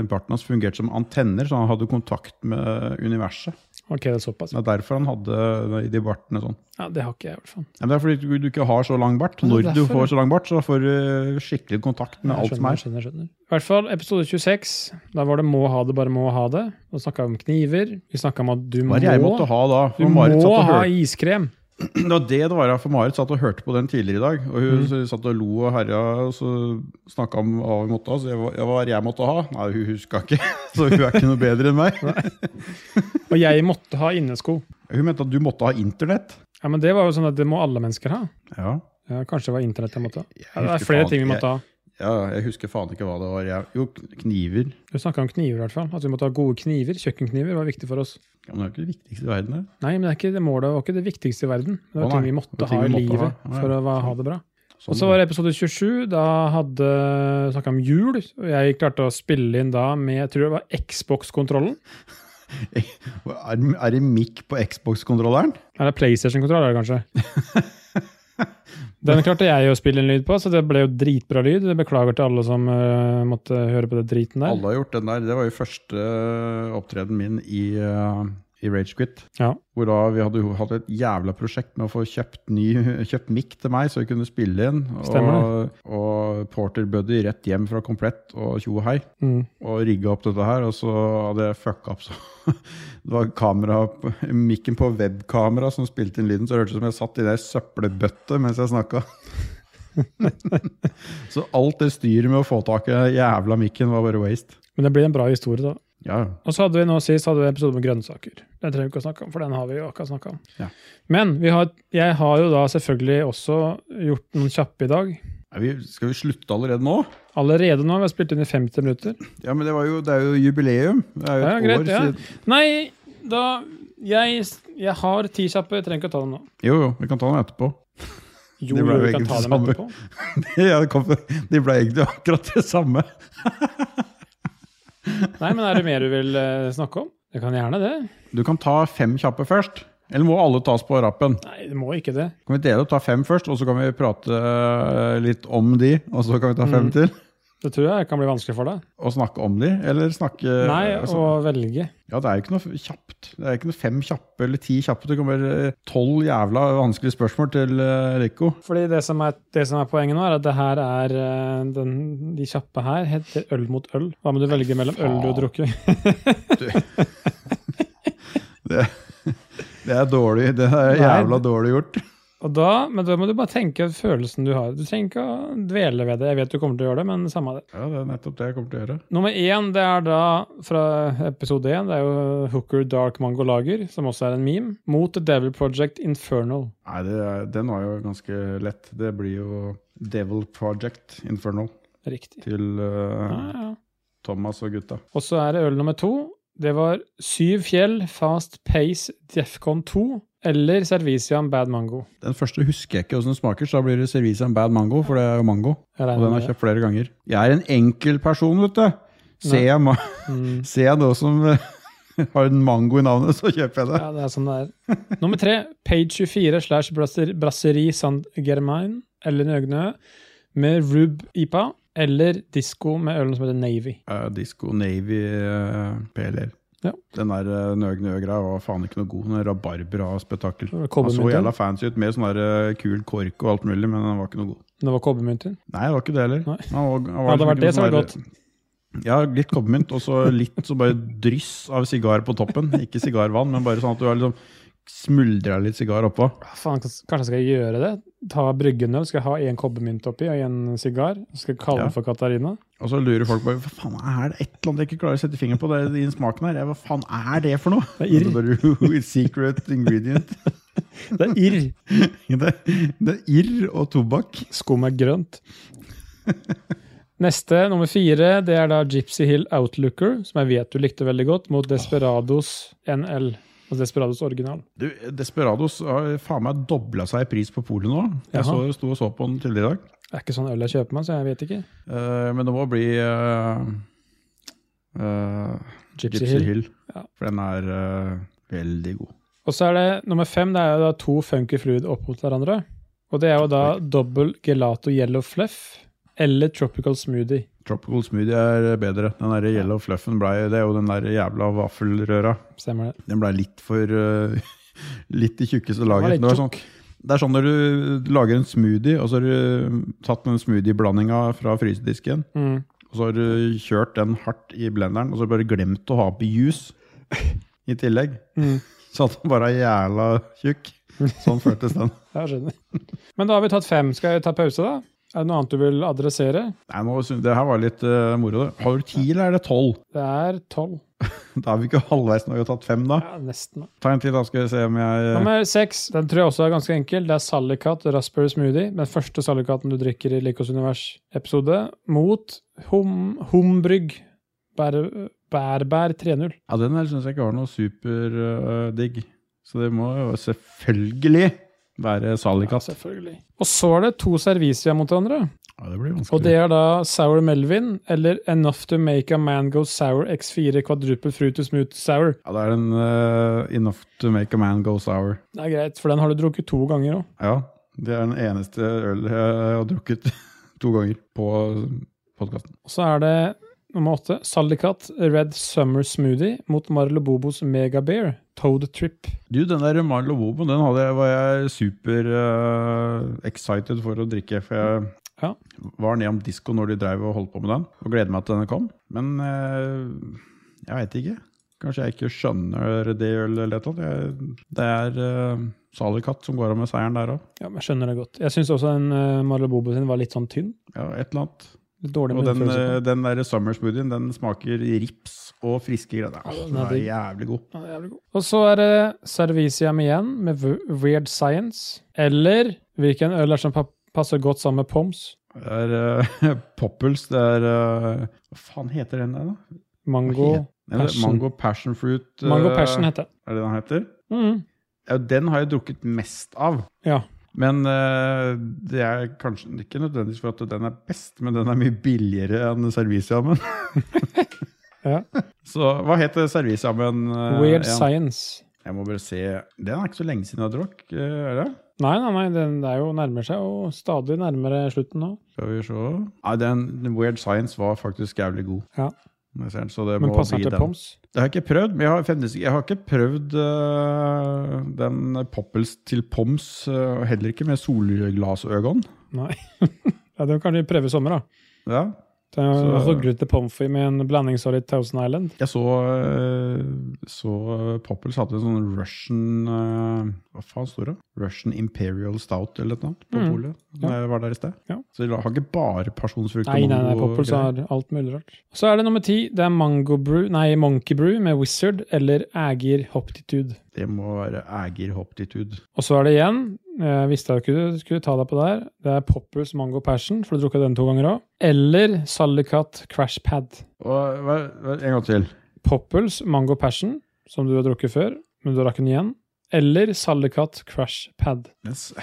Speaker 2: barten hans fungerte som antenner, så han hadde kontakt med universet.
Speaker 1: Ok, det er såpass.
Speaker 2: Det er derfor han hadde de bartene sånn.
Speaker 1: Ja, Det har ikke jeg, i hvert fall.
Speaker 2: Ja, men det er fordi du- du ikke har så lang bart. Når du
Speaker 1: derfor,
Speaker 2: får så lang bart, så får du skikkelig kontakt med alt som
Speaker 1: skjønner,
Speaker 2: er.
Speaker 1: skjønner, skjønner. I hvert fall episode 26. Da var det 'må ha det, bare må ha det'. Nå snakka vi om kniver. Vi snakka om at du
Speaker 2: Hva
Speaker 1: må,
Speaker 2: er det jeg måtte ha da?
Speaker 1: du
Speaker 2: For Marit
Speaker 1: må
Speaker 2: satt og
Speaker 1: ha
Speaker 2: hørte-
Speaker 1: iskrem.
Speaker 2: Det var det det var, ja, for Marit satt og hørte på den tidligere i dag. Og hun
Speaker 1: Mm.
Speaker 2: satt og lo og herja og så snakka om hva vi måtte ha. Så jeg, var- hva var jeg måtte ha? Nei, hun huska ikke. Så hun er ikke noe bedre enn meg.
Speaker 1: Og jeg måtte ha innesko.
Speaker 2: Hun mente at du måtte ha internett.
Speaker 1: Ja, men det var jo sånn at det må alle mennesker ha.
Speaker 2: Ja.
Speaker 1: Ja, kanskje det var internett jeg måtte ha.
Speaker 2: Jeg
Speaker 1: Ja, det
Speaker 2: husker
Speaker 1: er flere
Speaker 2: faen-
Speaker 1: ting vi måtte ha.
Speaker 2: Ja, jeg husker faen ikke hva det var. Jeg, jo, kniver.
Speaker 1: Du snakka om kniver, i hvert fall. At vi måtte ha gode kniver. Kjøkkenkniver var viktig for oss.
Speaker 2: Ja, men det er jo ikke det viktigste i verden. Det.
Speaker 1: Nei, men det er ikke det målet var ikke det viktigste i verden. Det
Speaker 2: Å,
Speaker 1: var ting vi
Speaker 2: nei. Det var
Speaker 1: måtte
Speaker 2: ting
Speaker 1: ha i
Speaker 2: vi måtte
Speaker 1: livet
Speaker 2: ha. Ja, ja.
Speaker 1: for å va- ha det bra.
Speaker 2: Sånn.
Speaker 1: Og så var det episode 27. Da hadde snakka om jul. Og jeg klarte å spille inn da med jeg tror det var Xbox-kontrollen.
Speaker 2: Er, er det mic på Xbox-kontrolleren?
Speaker 1: Er det PlayStation-kontroll, er det kanskje? Den klarte jeg å spille en lyd på, så det ble jo dritbra lyd. Jeg beklager til alle som eh, måtte høre på den driten der.
Speaker 2: Alle har gjort den der. Det var jo første opptreden min i, uh, i Ragequit.
Speaker 1: Ja.
Speaker 2: Hvor da vi hadde jo hatt et jævla prosjekt med å få kjøpt, ny, kjøpt mic til meg, så jeg kunne spille inn.
Speaker 1: Stemmer
Speaker 2: Og, og Porter Buddy rett hjem fra Komplett og tjo og hei.
Speaker 1: Mm.
Speaker 2: Og rigga opp dette her, og så hadde jeg fucka opp. Så det var kamera, mikken på webkamera som spilte inn lyden, så det hørtes ut som jeg satt i det søppelbøtte mens jeg snakka. så alt det styret med å få tak i den jævla mikken var bare waste.
Speaker 1: Men det blir en bra historie, da.
Speaker 2: Ja, ja.
Speaker 1: Og så hadde vi nå sist hadde vi en episode med grønnsaker. Den trenger vi ikke å snakke om, for den har vi jo akkurat snakka om.
Speaker 2: Ja.
Speaker 1: Men vi har, jeg har jo da selvfølgelig også gjort noen kjappe i dag.
Speaker 2: Er vi, skal vi slutte allerede nå?
Speaker 1: Allerede nå, vi har spilt inn i 50 minutter.
Speaker 2: Ja, men det, var jo, det er jo jubileum. Det er jo
Speaker 1: Ja,
Speaker 2: et
Speaker 1: greit,
Speaker 2: år
Speaker 1: ja.
Speaker 2: siden.
Speaker 1: Nei, da Jeg, jeg har ti kjappe, jeg trenger ikke å ta dem nå.
Speaker 2: Jo, jo, vi kan ta den etterpå.
Speaker 1: Jo,
Speaker 2: Det ble
Speaker 1: jo, vi
Speaker 2: jo
Speaker 1: kan
Speaker 2: egentlig
Speaker 1: ta dem
Speaker 2: samme.
Speaker 1: etterpå.
Speaker 2: Ja, det kom- De ble egentlig akkurat det samme.
Speaker 1: Nei, men er det mer du vil eh, snakke om? Jeg kan gjerne det.
Speaker 2: Du kan ta fem kjappe først. Eller må alle tas på rappen?
Speaker 1: Nei, det må ikke det.
Speaker 2: Kan vi dele opp, ta fem først, og så kan vi prate eh, litt om de, og så kan vi ta
Speaker 1: Mm.
Speaker 2: fem til?
Speaker 1: Det tror jeg kan bli vanskelig for deg.
Speaker 2: Og snakke om de, eller snakke
Speaker 1: Nei,
Speaker 2: altså,
Speaker 1: å velge.
Speaker 2: Ja, det er jo ikke noe kjapt. Det er ikke noe fem kjappe eller ti kjappe. Det kommer eh, tolv jævla vanskelige spørsmål til eh, Rico.
Speaker 1: Fordi det som, er, det som er poenget nå, er at det her er eh, den, De kjappe her heter øl mot øl. Hva må du velge mellom øl du har drukket?
Speaker 2: Det, det er dårlig. Det er
Speaker 1: Nei.
Speaker 2: jævla dårlig gjort.
Speaker 1: Og da, men da må du bare tenke følelsen du har. Du trenger ikke å dvele ved det. Jeg vet du kommer til å gjøre det, men samme av det.
Speaker 2: Ja, det er nettopp det jeg kommer til å gjøre.
Speaker 1: Nummer én det er da fra episode én. Det er jo Hooker Dark Mango Lager, som også er en meme, mot The Devil Project Infernal.
Speaker 2: Nei, det er, den var jo ganske lett. Det blir jo Devil Project Infernal
Speaker 1: Riktig.
Speaker 2: til eh,
Speaker 1: Ja, ja.
Speaker 2: Thomas og gutta.
Speaker 1: Og så er det øl nummer to. Det var Syv fjell, Fast Pace, Defcon 2 eller Servician Bad Mango.
Speaker 2: Den første husker jeg ikke hvordan den smaker, så da blir det servise en bad mango, for det er jo mango.
Speaker 1: Jeg regner
Speaker 2: Og den har
Speaker 1: med
Speaker 2: jeg
Speaker 1: det.
Speaker 2: kjøpt flere ganger. Jeg er en enkel person, vet du. Ser jeg, ma
Speaker 1: Mm.
Speaker 2: ser jeg noe som eh, har en mango i navnet, så kjøper jeg det.
Speaker 1: Ja, det er sånn det er. Nummer tre, Page 24 slash Brasser- Brasserie Saint Germain eller Nøgnø med Rub IPA eller Disko med ølen som heter Navy.
Speaker 2: Eh, Disco Navy uh, PLL.
Speaker 1: Ja.
Speaker 2: Den der uh, nøgnø-greia var faen ikke noe god. Den rabarbra spetakkel.
Speaker 1: Det var
Speaker 2: Den så
Speaker 1: kobbermynten.
Speaker 2: jævla fancy ut med sånn der eh, kul kork og alt mulig, men den var ikke noe god.
Speaker 1: Det var kobbermynten.
Speaker 2: Nei, det var ikke det heller.
Speaker 1: Nei.
Speaker 2: Den var- den var
Speaker 1: Hadde det
Speaker 2: liksom
Speaker 1: vært det, så
Speaker 2: ikke
Speaker 1: var det
Speaker 2: noe
Speaker 1: godt.
Speaker 2: sånn der- Ja, litt kobbermynt, og så litt så bare dryss av sigar på toppen. Ikke sigarvann, men bare sånn at du har liksom smuldra litt sigar oppå.
Speaker 1: Ah, Faen, kanskje jeg skal gjøre det? Ta bryggenøl, skal jeg ha en kobbermynt oppi og en sigar? Skal jeg kalle
Speaker 2: Ja.
Speaker 1: den for Katarina?
Speaker 2: Og så lurer folk bare hva faen er det et eller annet jeg ikke klarer å sette fingeren på det, i den smaken her? Ja, Hva faen er det for noe?
Speaker 1: Det er irr.
Speaker 2: Og så bare, Secret ingredient.
Speaker 1: Det er irr!
Speaker 2: Det, det er irr og tobakk.
Speaker 1: Skum er grønt. Neste, nummer fire, det er da Gypsy Hill Outlooker, som jeg vet du likte veldig godt, mot Desperados NL. Altså Desperados original.
Speaker 2: Du, Desperados har faen meg dobla seg i pris på polet nå.
Speaker 1: Jaha.
Speaker 2: Jeg så, sto og så på den tidligere i dag.
Speaker 1: Det er ikke sånn øl jeg kjøper meg, så jeg vet ikke.
Speaker 2: Eh, men det må bli eh, eh,
Speaker 1: Gypsy,
Speaker 2: Gypsy
Speaker 1: Hill.
Speaker 2: Hill.
Speaker 1: Ja.
Speaker 2: For den er eh, veldig god.
Speaker 1: Og så er det nummer fem, det er jo da to funky fluid opp mot hverandre. Og det er jo da dobbel gelato yellow fluff eller tropical smoothie.
Speaker 2: Tropical smoothie er eh, bedre. Den der yellow fluffen blei Det er jo den der jævla vaffelrøra.
Speaker 1: Stemmer det.
Speaker 2: Den blei litt for eh, Litt i tjukkeste
Speaker 1: var
Speaker 2: laget.
Speaker 1: litt
Speaker 2: Det, var sånn,
Speaker 1: tjukk.
Speaker 2: det er sånn når du lager en smoothie, og så har du eh, tatt den smoothieblandinga fra frysedisken,
Speaker 1: Mm.
Speaker 2: Og så har du kjørt den hardt i blenderen, og så har du bare glemt å ha på juice i tillegg.
Speaker 1: Mm.
Speaker 2: Så at den bare er jævla tjukk. Sånn føltes den.
Speaker 1: Jeg skjønner. Men da har vi tatt fem. Skal vi ta pause, da? Er det noe annet du vil adressere?
Speaker 2: Nei, nå, synes- det her var litt eh, moro. det. Har du ti, eller er det tolv?
Speaker 1: Det er tolv.
Speaker 2: Da er vi ikke halvveis når vi har tatt fem, da.
Speaker 1: Ja, nesten.
Speaker 2: Ta en til, da, skal vi se om jeg
Speaker 1: Nummer seks, den tror jeg også er ganske enkel. Det er Sallikat Raspberry Smoothie. Den første Sallikaten du drikker i Likos univers-episode. Mot hum, Humbrygg Bær- Bærbær 3.0.
Speaker 2: Ja, den her syns jeg ikke var noe superdigg. så det må jo selvfølgelig være Salikat.
Speaker 1: Selvfølgelig. Og så er det to servicia mot hverandre.
Speaker 2: Ja, det blir vanskelig.
Speaker 1: Og det er da Sour Melvin, eller Enough to Make a Man Go Sour X4 Quadruple Fruit to Smooth Sour.
Speaker 2: Ja, det er en eh, Enough to make a man go sour.
Speaker 1: Det er greit, for den har du drukket to ganger òg.
Speaker 2: Ja, det er den eneste øl jeg har drukket to ganger på eh, podkasten.
Speaker 1: Og så er det nummer åtte, Sallikat Red Summer Smoothie mot Marlo Bobos Mega Beer, Toad Trip.
Speaker 2: Du, den der Marlo Wobo, den hadde jeg, var jeg super eh, excited for å drikke. For jeg
Speaker 1: Ja.
Speaker 2: var ned om disko når de drev og holdt på med den, og gleder meg til denne kom. Men eh, jeg veit ikke. Kanskje jeg ikke skjønner det ølet eller et eller annet. Jeg- Det er uh, Salikat som går av med seieren der òg.
Speaker 1: Ja, men jeg skjønner det godt. Jeg syns også den eh, Marlo Bobo sin var litt sånn tynn.
Speaker 2: Ja, et eller annet.
Speaker 1: Litt dårlig
Speaker 2: Og den,
Speaker 1: munnfølelse.
Speaker 2: eh, den der summer smoothien, den smaker rips og friske greier. Åh, den er jævlig god.
Speaker 1: Ja, det er jævlig god. Og så er det Serviciam igjen, med V- Weird Science. Eller hvilken øl er det som pa passer godt sammen med Poms?
Speaker 2: Det er eh, Poppels, det er eh, Hva faen heter den der, da?
Speaker 1: Mango
Speaker 2: Hva Den heter
Speaker 1: Passion.
Speaker 2: Mango passion fruit. eh,
Speaker 1: Mango Passion heter det.
Speaker 2: Er det den heter?
Speaker 1: Mm.
Speaker 2: Ja, den har jeg drukket mest av.
Speaker 1: Ja.
Speaker 2: Men eh, det er kanskje ikke nødvendigvis for at den er best, men den er mye billigere enn servicejamen.
Speaker 1: Ja.
Speaker 2: Så hva heter servicejamen? eh,
Speaker 1: Weird
Speaker 2: igjen?
Speaker 1: Science.
Speaker 2: Jeg må bare se. Den er ikke så lenge siden jeg drakk, eh, er det?
Speaker 1: Nei, nei, nei, den det er jo nærmer seg jo stadig nærmere slutten nå.
Speaker 2: Skal vi se Nei, den Weird Science var faktisk jævlig god.
Speaker 1: Ja.
Speaker 2: Når jeg ser den, Så det
Speaker 1: Men
Speaker 2: må
Speaker 1: passer
Speaker 2: bli
Speaker 1: den til
Speaker 2: den.
Speaker 1: Poms?
Speaker 2: Det har jeg ikke prøvd. Men jeg har, fremdeles ikke- jeg har ikke prøvd øh, den Poppels til Poms, øh, og heller ikke med solglasøgon.
Speaker 1: Nei. ja, det kan du prøve i sommer, da.
Speaker 2: Ja.
Speaker 1: Det er
Speaker 2: Så-
Speaker 1: jo Ruglete pommes frites med en blandingsolje Thousand Island.
Speaker 2: Jeg så, øh, så øh, Poppels hadde en sånn Russian øh, Hva faen står det? Russian Imperial Stout eller noe på
Speaker 1: Mm.
Speaker 2: polet. Når jeg var der i sted.
Speaker 1: Ja.
Speaker 2: Så de har ikke bare pasjonsfrukt
Speaker 1: Nei, nei, nei,
Speaker 2: mango
Speaker 1: Poppels
Speaker 2: greier.
Speaker 1: har alt mulig rart. Så er det nummer ti. Det er Mango Brew, nei, Monkey Brew med Wizard eller Ægir Hoptitude.
Speaker 2: Det må være Ægir Hoptitude.
Speaker 1: Og så er det igjen, jeg visste jeg ikke du skulle ta deg på der, det er Poppers Mango Passion, for du drukket den to ganger òg. Eller Sallikat Crash Pad.
Speaker 2: Og, hva- hva- en gang til.
Speaker 1: Poppels Mango Passion, som du har drukket før, men du drakk den igjen. Eller Sallikat Crash Pad.
Speaker 2: Yes.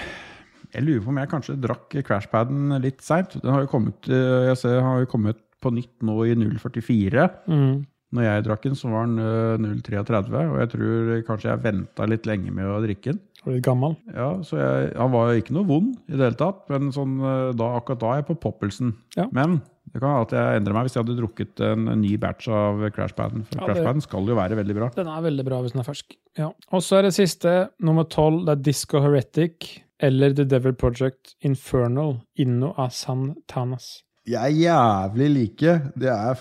Speaker 2: Jeg lurer på om jeg kanskje drakk crashpaden litt seint. Den har jo kommet, eh, jeg ser, har jo kommet på nytt nå i 044.
Speaker 1: Mm.
Speaker 2: Når jeg drakk den, så var den eh, 033, og jeg tror kanskje jeg venta litt lenge med å drikke den.
Speaker 1: Du er litt gammel.
Speaker 2: Ja, så jeg, Han var jo ikke noe vond i det hele tatt, men sånn, eh, da, akkurat da er jeg på poppelsen.
Speaker 1: Ja.
Speaker 2: Men det kan være at jeg endrer meg hvis jeg hadde drukket en, en ny batch av crashpaden. For
Speaker 1: Ja, det-
Speaker 2: crashpaden skal jo være veldig bra.
Speaker 1: Den er veldig bra hvis den er fersk. Ja. Og så er det siste, nummer tolv, det er Disco Heretic eller The Devil Project Infernal Inno a San Tanas.
Speaker 2: Jeg er jævlig like. Det er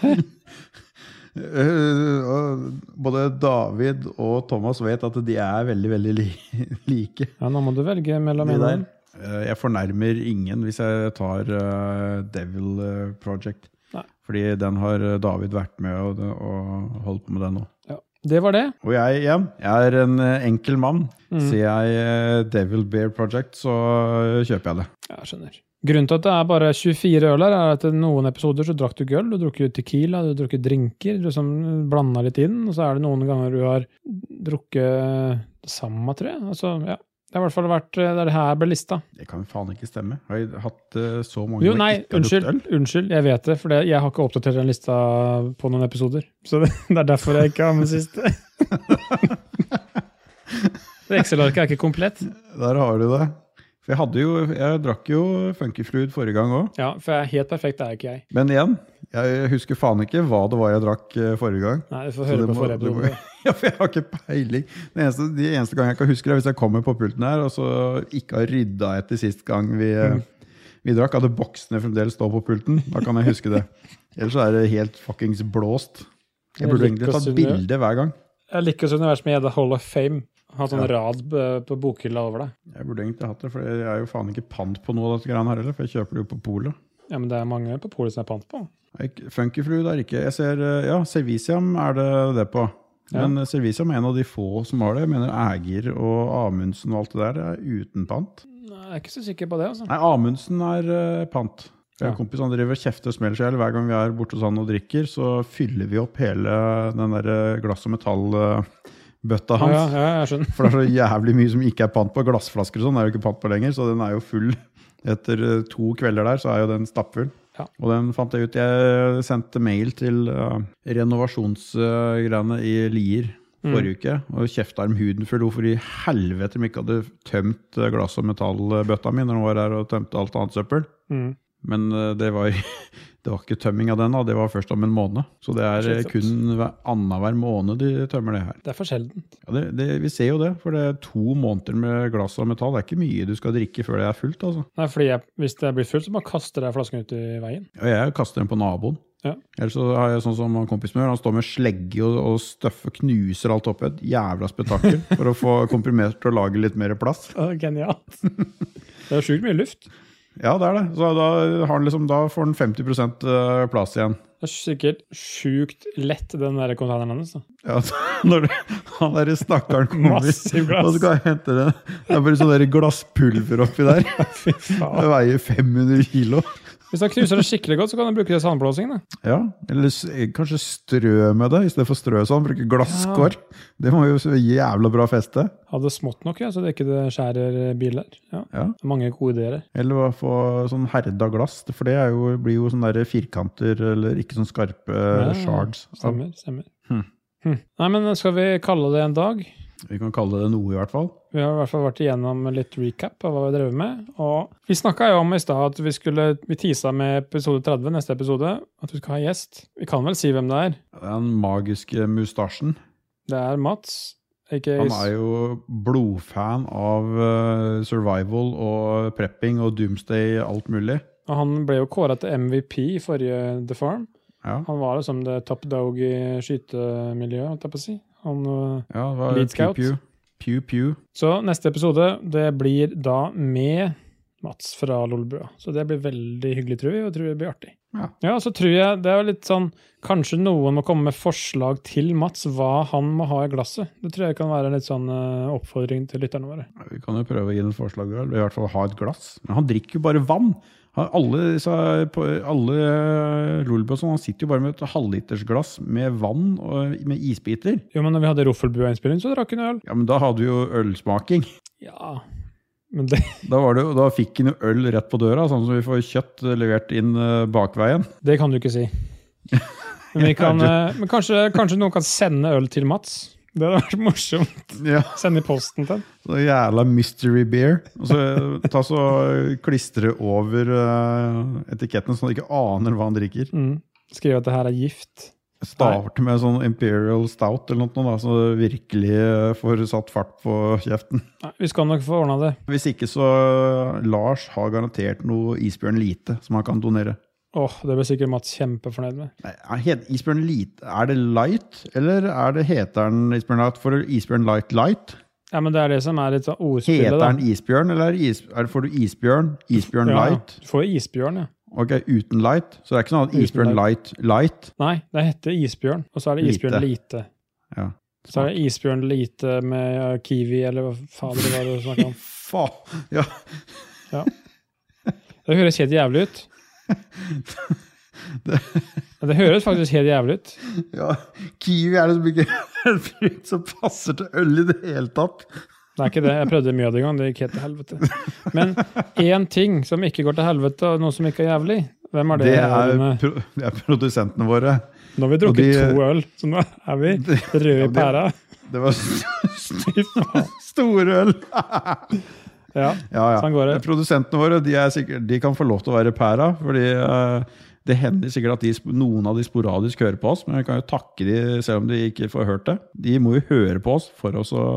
Speaker 2: Øh, og Både David og Thomas vet at de er veldig, veldig li like.
Speaker 1: Ja, nå må du velge mellom
Speaker 2: de
Speaker 1: en av
Speaker 2: der.
Speaker 1: dem.
Speaker 2: Øh, Jeg fornærmer ingen hvis jeg tar øh, Devil øh, Project.
Speaker 1: Nei.
Speaker 2: Fordi den har øh, David vært med og, og holdt på med den nå.
Speaker 1: Ja. Det var det. Mm.
Speaker 2: Og jeg igjen, jeg er en øh, enkel mann. Ser jeg øh, Devil Bear Project, så øh, kjøper jeg det.
Speaker 1: Ja, jeg skjønner. Grunnen til at det er bare 24 øl her, er at i noen episoder så drakk du ikke øl. Du drukket jo tequila, du drukket drinker, du liksom blanda litt inn. Og så er det noen ganger du har drukket det samme, tror jeg. Altså, ja. Det har i hvert fall vært eh, Det er det her ble lista.
Speaker 2: Det kan faen ikke stemme. Har jeg hatt øh, så mange
Speaker 1: Jo,
Speaker 2: som
Speaker 1: nei,
Speaker 2: ikke har drukket
Speaker 1: unnskyld.
Speaker 2: øl?
Speaker 1: Unnskyld, jeg vet det. For det- jeg har ikke oppdatert den lista på noen episoder. Så det, det er derfor jeg ikke har med siste. Det Excel-arket er ikke komplett.
Speaker 2: Der har du det. For jeg, hadde jo, jeg drakk jo Funkyfluid forrige gang òg.
Speaker 1: Ja, for jeg er helt perfekt er ikke jeg.
Speaker 2: Men igjen, jeg husker faen ikke hva det var jeg drakk eh, forrige gang.
Speaker 1: Nei, du får
Speaker 2: Så
Speaker 1: høre
Speaker 2: det
Speaker 1: på
Speaker 2: må-
Speaker 1: forrige
Speaker 2: det må-
Speaker 1: episode.
Speaker 2: Ja, for jeg har ikke peiling. Den eneste, de eneste gang jeg kan huske, det er hvis jeg kommer på pulten her og så ikke har rydda etter sist gang vi, eh,
Speaker 1: Mm.
Speaker 2: vi drakk. Hadde boksene fremdeles stå på pulten, da kan jeg huske det. Ellers så er det helt fuckings blåst. Jeg burde
Speaker 1: Jeg liker
Speaker 2: egentlig
Speaker 1: å
Speaker 2: tatt
Speaker 1: synne-
Speaker 2: bilde hver gang.
Speaker 1: Jeg liker også universet med The Hall of Fame. Ha sånn rad eh, på bokhylla over deg.
Speaker 2: Jeg burde egentlig hatt det, for jeg er jo faen ikke pant på noe av dette greiene her heller, for jeg kjøper det jo på polet.
Speaker 1: Ja, men det er mange på polet som er pant på.
Speaker 2: Ikke- Funkyfruit er ikke Jeg ser, eh, ja, Servicium er det det på.
Speaker 1: Ja.
Speaker 2: Men eh, Servicium er en av de få som har det. Jeg mener Ægir og Amundsen og alt det der er uten pant.
Speaker 1: Nei, Jeg er ikke så sikker på det, altså.
Speaker 2: Nei, Amundsen er eh, pant. Jeg har
Speaker 1: Ja.
Speaker 2: en kompis han driver og kjefter og smeller seg i hjel. Hver gang vi er borte hos han og drikker, så fyller vi opp hele den der eh, glass- og
Speaker 1: Ja,
Speaker 2: metallbøtta hans.
Speaker 1: ja, jeg skjønner.
Speaker 2: For det er så jævlig mye som ikke er pant på. Glassflasker og sånn er jo ikke pant på lenger, så den er jo full Etter eh, to kvelder der, så er jo den stappfull.
Speaker 1: Ja.
Speaker 2: Og den fant jeg ut Jeg sendte mail til uh, renovasjonsgreiene i Lier forrige uke og kjefta dem huden full hvorfor i helvete de ikke hadde tømt eh, glass- og metallbøtta mi når de var her og tømte alt annet søppel.
Speaker 1: Mm.
Speaker 2: Men eh, det var, det var ikke tømming av den, da. det var først om en måned. Så det er eh,
Speaker 1: Slitsomt.
Speaker 2: kun hver- annenhver måned de tømmer det her.
Speaker 1: Det er for sjeldent.
Speaker 2: Ja, det, det, vi ser jo det, for det er to måneder med glass av metall. Det er ikke mye du skal drikke før det er fullt. altså.
Speaker 1: Nei, fordi jeg, hvis det er blitt fullt, så bare kaster jeg flasken ut i veien.
Speaker 2: Og jeg kaster den på naboen.
Speaker 1: Ja.
Speaker 2: Ellers så har jeg sånn som en kompis min gjør, han står med slegge og, og støffer, knuser alt oppi. Et jævla spetakkel for å få komprimert og lage litt mer plass.
Speaker 1: Å, Genialt. Det er sjukt mye luft.
Speaker 2: Ja, det er det. Så da, har han liksom, da får han 50 plass igjen.
Speaker 1: Det er sikkert sjukt lett, den der containeren hennes. da.
Speaker 2: Ja, så når du, han derre stakkaren kommer
Speaker 1: Massiv glass.
Speaker 2: og skal hente det Det er bare sånn der glasspulver oppi der.
Speaker 1: Fy faen.
Speaker 2: Det veier 500 kilo.
Speaker 1: Hvis han knuser det skikkelig godt, så kan han bruke det i sandblåsing. da.
Speaker 2: Ja, eller s- eh, kanskje strø med det istedenfor strø sånn. Bruke glasskår. Det må jo så jævla bra feste.
Speaker 1: Hadde smått nok, ja, så det ikke det skjærer biler. Ja.
Speaker 2: Ja.
Speaker 1: Mange gode ideer her.
Speaker 2: Eller hva, få sånn herda glass, for det er jo, blir jo sånne der firkanter eller ikke sånn skarpe
Speaker 1: Ja,
Speaker 2: shards. av.
Speaker 1: Stemmer. stemmer.
Speaker 2: Hm.
Speaker 1: Hm. Nei, men skal vi kalle det en dag?
Speaker 2: Vi kan kalle det noe, i hvert fall.
Speaker 1: Vi har i hvert fall vært igjennom litt recap av hva vi drev med. Og vi snakka jo om i stad at vi skulle vi tisa med episode 30, neste episode, at vi skal ha gjest. Vi kan vel si hvem det er?
Speaker 2: Den magiske mustasjen.
Speaker 1: Det er Mats. Ikke
Speaker 2: Han er jo blodfan av eh, survival og prepping og doomsday, alt mulig.
Speaker 1: Og han ble jo kåra til MVP i forrige The Farm.
Speaker 2: Ja,
Speaker 1: Han var liksom det top dog i skytemiljøet, holdt jeg på å si. Han, øh,
Speaker 2: ja det var
Speaker 1: Lead
Speaker 2: pew,
Speaker 1: scout.
Speaker 2: pew. Pew, pew.
Speaker 1: så neste episode, det blir da med Mats fra Lolbua. Så det blir veldig hyggelig, tror vi, og tror det blir artig.
Speaker 2: Ja.
Speaker 1: så tror jeg det er jo litt sånn Kanskje noen må komme med forslag til Mats hva han må ha i glasset. Det tror jeg kan være en litt sånn øh, oppfordring til lytterne våre.
Speaker 2: Vi kan jo prøve å gi den forslaget, eller i hvert fall ha et glass. Men han drikker jo bare vann. Han, alle disse, på, alle eh, Lolbo og sånn, han sitter jo bare med et halvlitersglass med vann og med isbiter.
Speaker 1: Jo, men når vi hadde Roffelbua-innspilling, så drakk hun øl.
Speaker 2: Ja, men da hadde vi jo ølsmaking.
Speaker 1: Ja, men det,
Speaker 2: Da, var det, jo- da fikk han jo øl rett på døra, sånn som vi får kjøtt levert inn eh, bakveien.
Speaker 1: det kan du ikke si. Men, vi kan, øh, men kanskje, kanskje noen kan sende øl til Mats? Det hadde vært morsomt.
Speaker 2: Ja,
Speaker 1: Send i posten til den.
Speaker 2: så jævla mystery beer. Og så eh, ta så klistre over eh, etiketten så han ikke aner hva han drikker.
Speaker 1: Mm. Skrive at det her er gift.
Speaker 2: Starte med sånn Imperial Stout eller noe, sånt da, så du virkelig eh, får satt fart på kjeften.
Speaker 1: Nei, vi skal nok få ordna det.
Speaker 2: Hvis ikke, så eh, Lars har garantert noe Isbjørn Lite som han kan donere.
Speaker 1: Åh, Det blir sikkert Mats kjempefornøyd med.
Speaker 2: Nei, er het- Isbjørn Lite, er det Light, eller er det heter den Isbjørn Light? For Isbjørn Light Light?
Speaker 1: Ja, men Det er det som er litt sånn ordspillet.
Speaker 2: Heter
Speaker 1: da.
Speaker 2: den Isbjørn, eller er det is, er det, får du Isbjørn? Isbjørn
Speaker 1: Ja,
Speaker 2: Light?
Speaker 1: Du får isbjørn, ja.
Speaker 2: Ok, uten Light. Så det er ikke sånn at Isbjørn
Speaker 1: Uten
Speaker 2: Light Light.
Speaker 1: Nei, det heter isbjørn, og så er det isbjørn
Speaker 2: Lite.
Speaker 1: lite.
Speaker 2: Ja.
Speaker 1: Så er det isbjørn lite med eh, kiwi, eller hva fader det var du snakka om.
Speaker 2: Faen! Ja.
Speaker 1: Det høres helt jævlig ut.
Speaker 2: Det-
Speaker 1: Ja, Det høres faktisk helt jævlig ut.
Speaker 2: Ja, kiwi er liksom ikke en frukt som passer til øl i det hele tatt.
Speaker 1: Det er ikke det. Jeg prøvde mye av det en gang, det gikk helt til helvete. Men én ting som ikke går til helvete, og noe som ikke er jævlig, hvem er det?
Speaker 2: Det er,
Speaker 1: Rune?
Speaker 2: pro det er produsentene våre.
Speaker 1: Nå har vi
Speaker 2: Og
Speaker 1: drukket
Speaker 2: de-
Speaker 1: to øl, så nå er vi røde
Speaker 2: Ja,
Speaker 1: i
Speaker 2: det-
Speaker 1: pæra.
Speaker 2: Det var st
Speaker 1: Fy faen.
Speaker 2: store øl!
Speaker 1: Ja.
Speaker 2: Ja, ja.
Speaker 1: Sånn går det.
Speaker 2: Produsentene våre de, er sikkert, de kan få lov til å være pæra. fordi eh, det hender sikkert at de, sp- noen av de sporadisk hører på oss, men vi kan jo takke de selv om de ikke får hørt det. De må jo høre på oss for oss å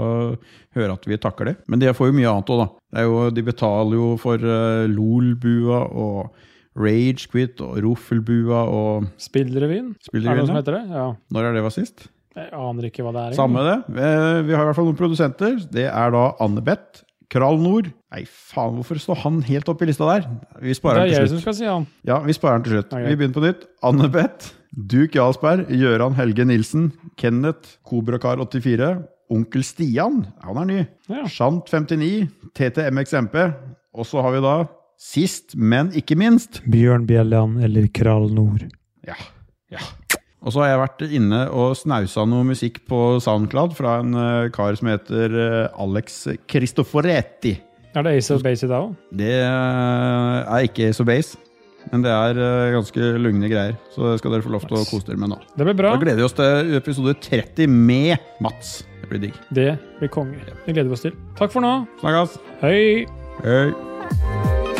Speaker 2: høre at vi takker de. Men de får jo mye annet òg, da. Det er jo, de betaler jo for eh, LOL-bua og Ragequit og Roffelbua og
Speaker 1: Spillrevyen? Er det
Speaker 2: Spillrevyen,
Speaker 1: noe som
Speaker 2: ja.
Speaker 1: heter det? Ja.
Speaker 2: Når er det var sist?
Speaker 1: Jeg aner ikke hva det er.
Speaker 2: Samme det. Eh, Vi har i hvert fall noen produsenter. Det er da Annebeth. Kral Nord. Nei, faen, hvorfor står han helt oppe i lista der? Vi
Speaker 1: egentlig.
Speaker 2: sparer
Speaker 1: Det er
Speaker 2: den
Speaker 1: jeg
Speaker 2: til
Speaker 1: som
Speaker 2: slutt.
Speaker 1: skal si han.
Speaker 2: Ja, vi sparer den til slutt.
Speaker 1: Ja, greit.
Speaker 2: Vi begynner på nytt. Annebeth. Duke Jarlsberg. Gøran Helge Nilsen. Kenneth. Kobrakar84. Onkel Stian. Ja, Han er ny.
Speaker 1: Ja.
Speaker 2: Shant59. TTMXMP. Og så har vi da, sist, men ikke minst,
Speaker 1: Bjørnbjelland eller Kral Nord.
Speaker 2: ja. ja. Og så har jeg vært inne og snausa noe musikk på SoundCloud fra en eh, kar som heter eh, Alex Cristoforetti.
Speaker 1: Er det Ace of Base i dag òg?
Speaker 2: Det eh, er ikke Ace of Base, men det er eh, ganske lugne greier. Så det skal dere få lov til å
Speaker 1: Nice.
Speaker 2: kose dere med nå.
Speaker 1: Det blir bra.
Speaker 2: Da gleder vi oss til episode 30 med Mats. Det blir digg.
Speaker 1: Det blir konge. Det gleder vi oss til. Takk for nå.
Speaker 2: Snakkes!
Speaker 1: Hei!
Speaker 2: Hei!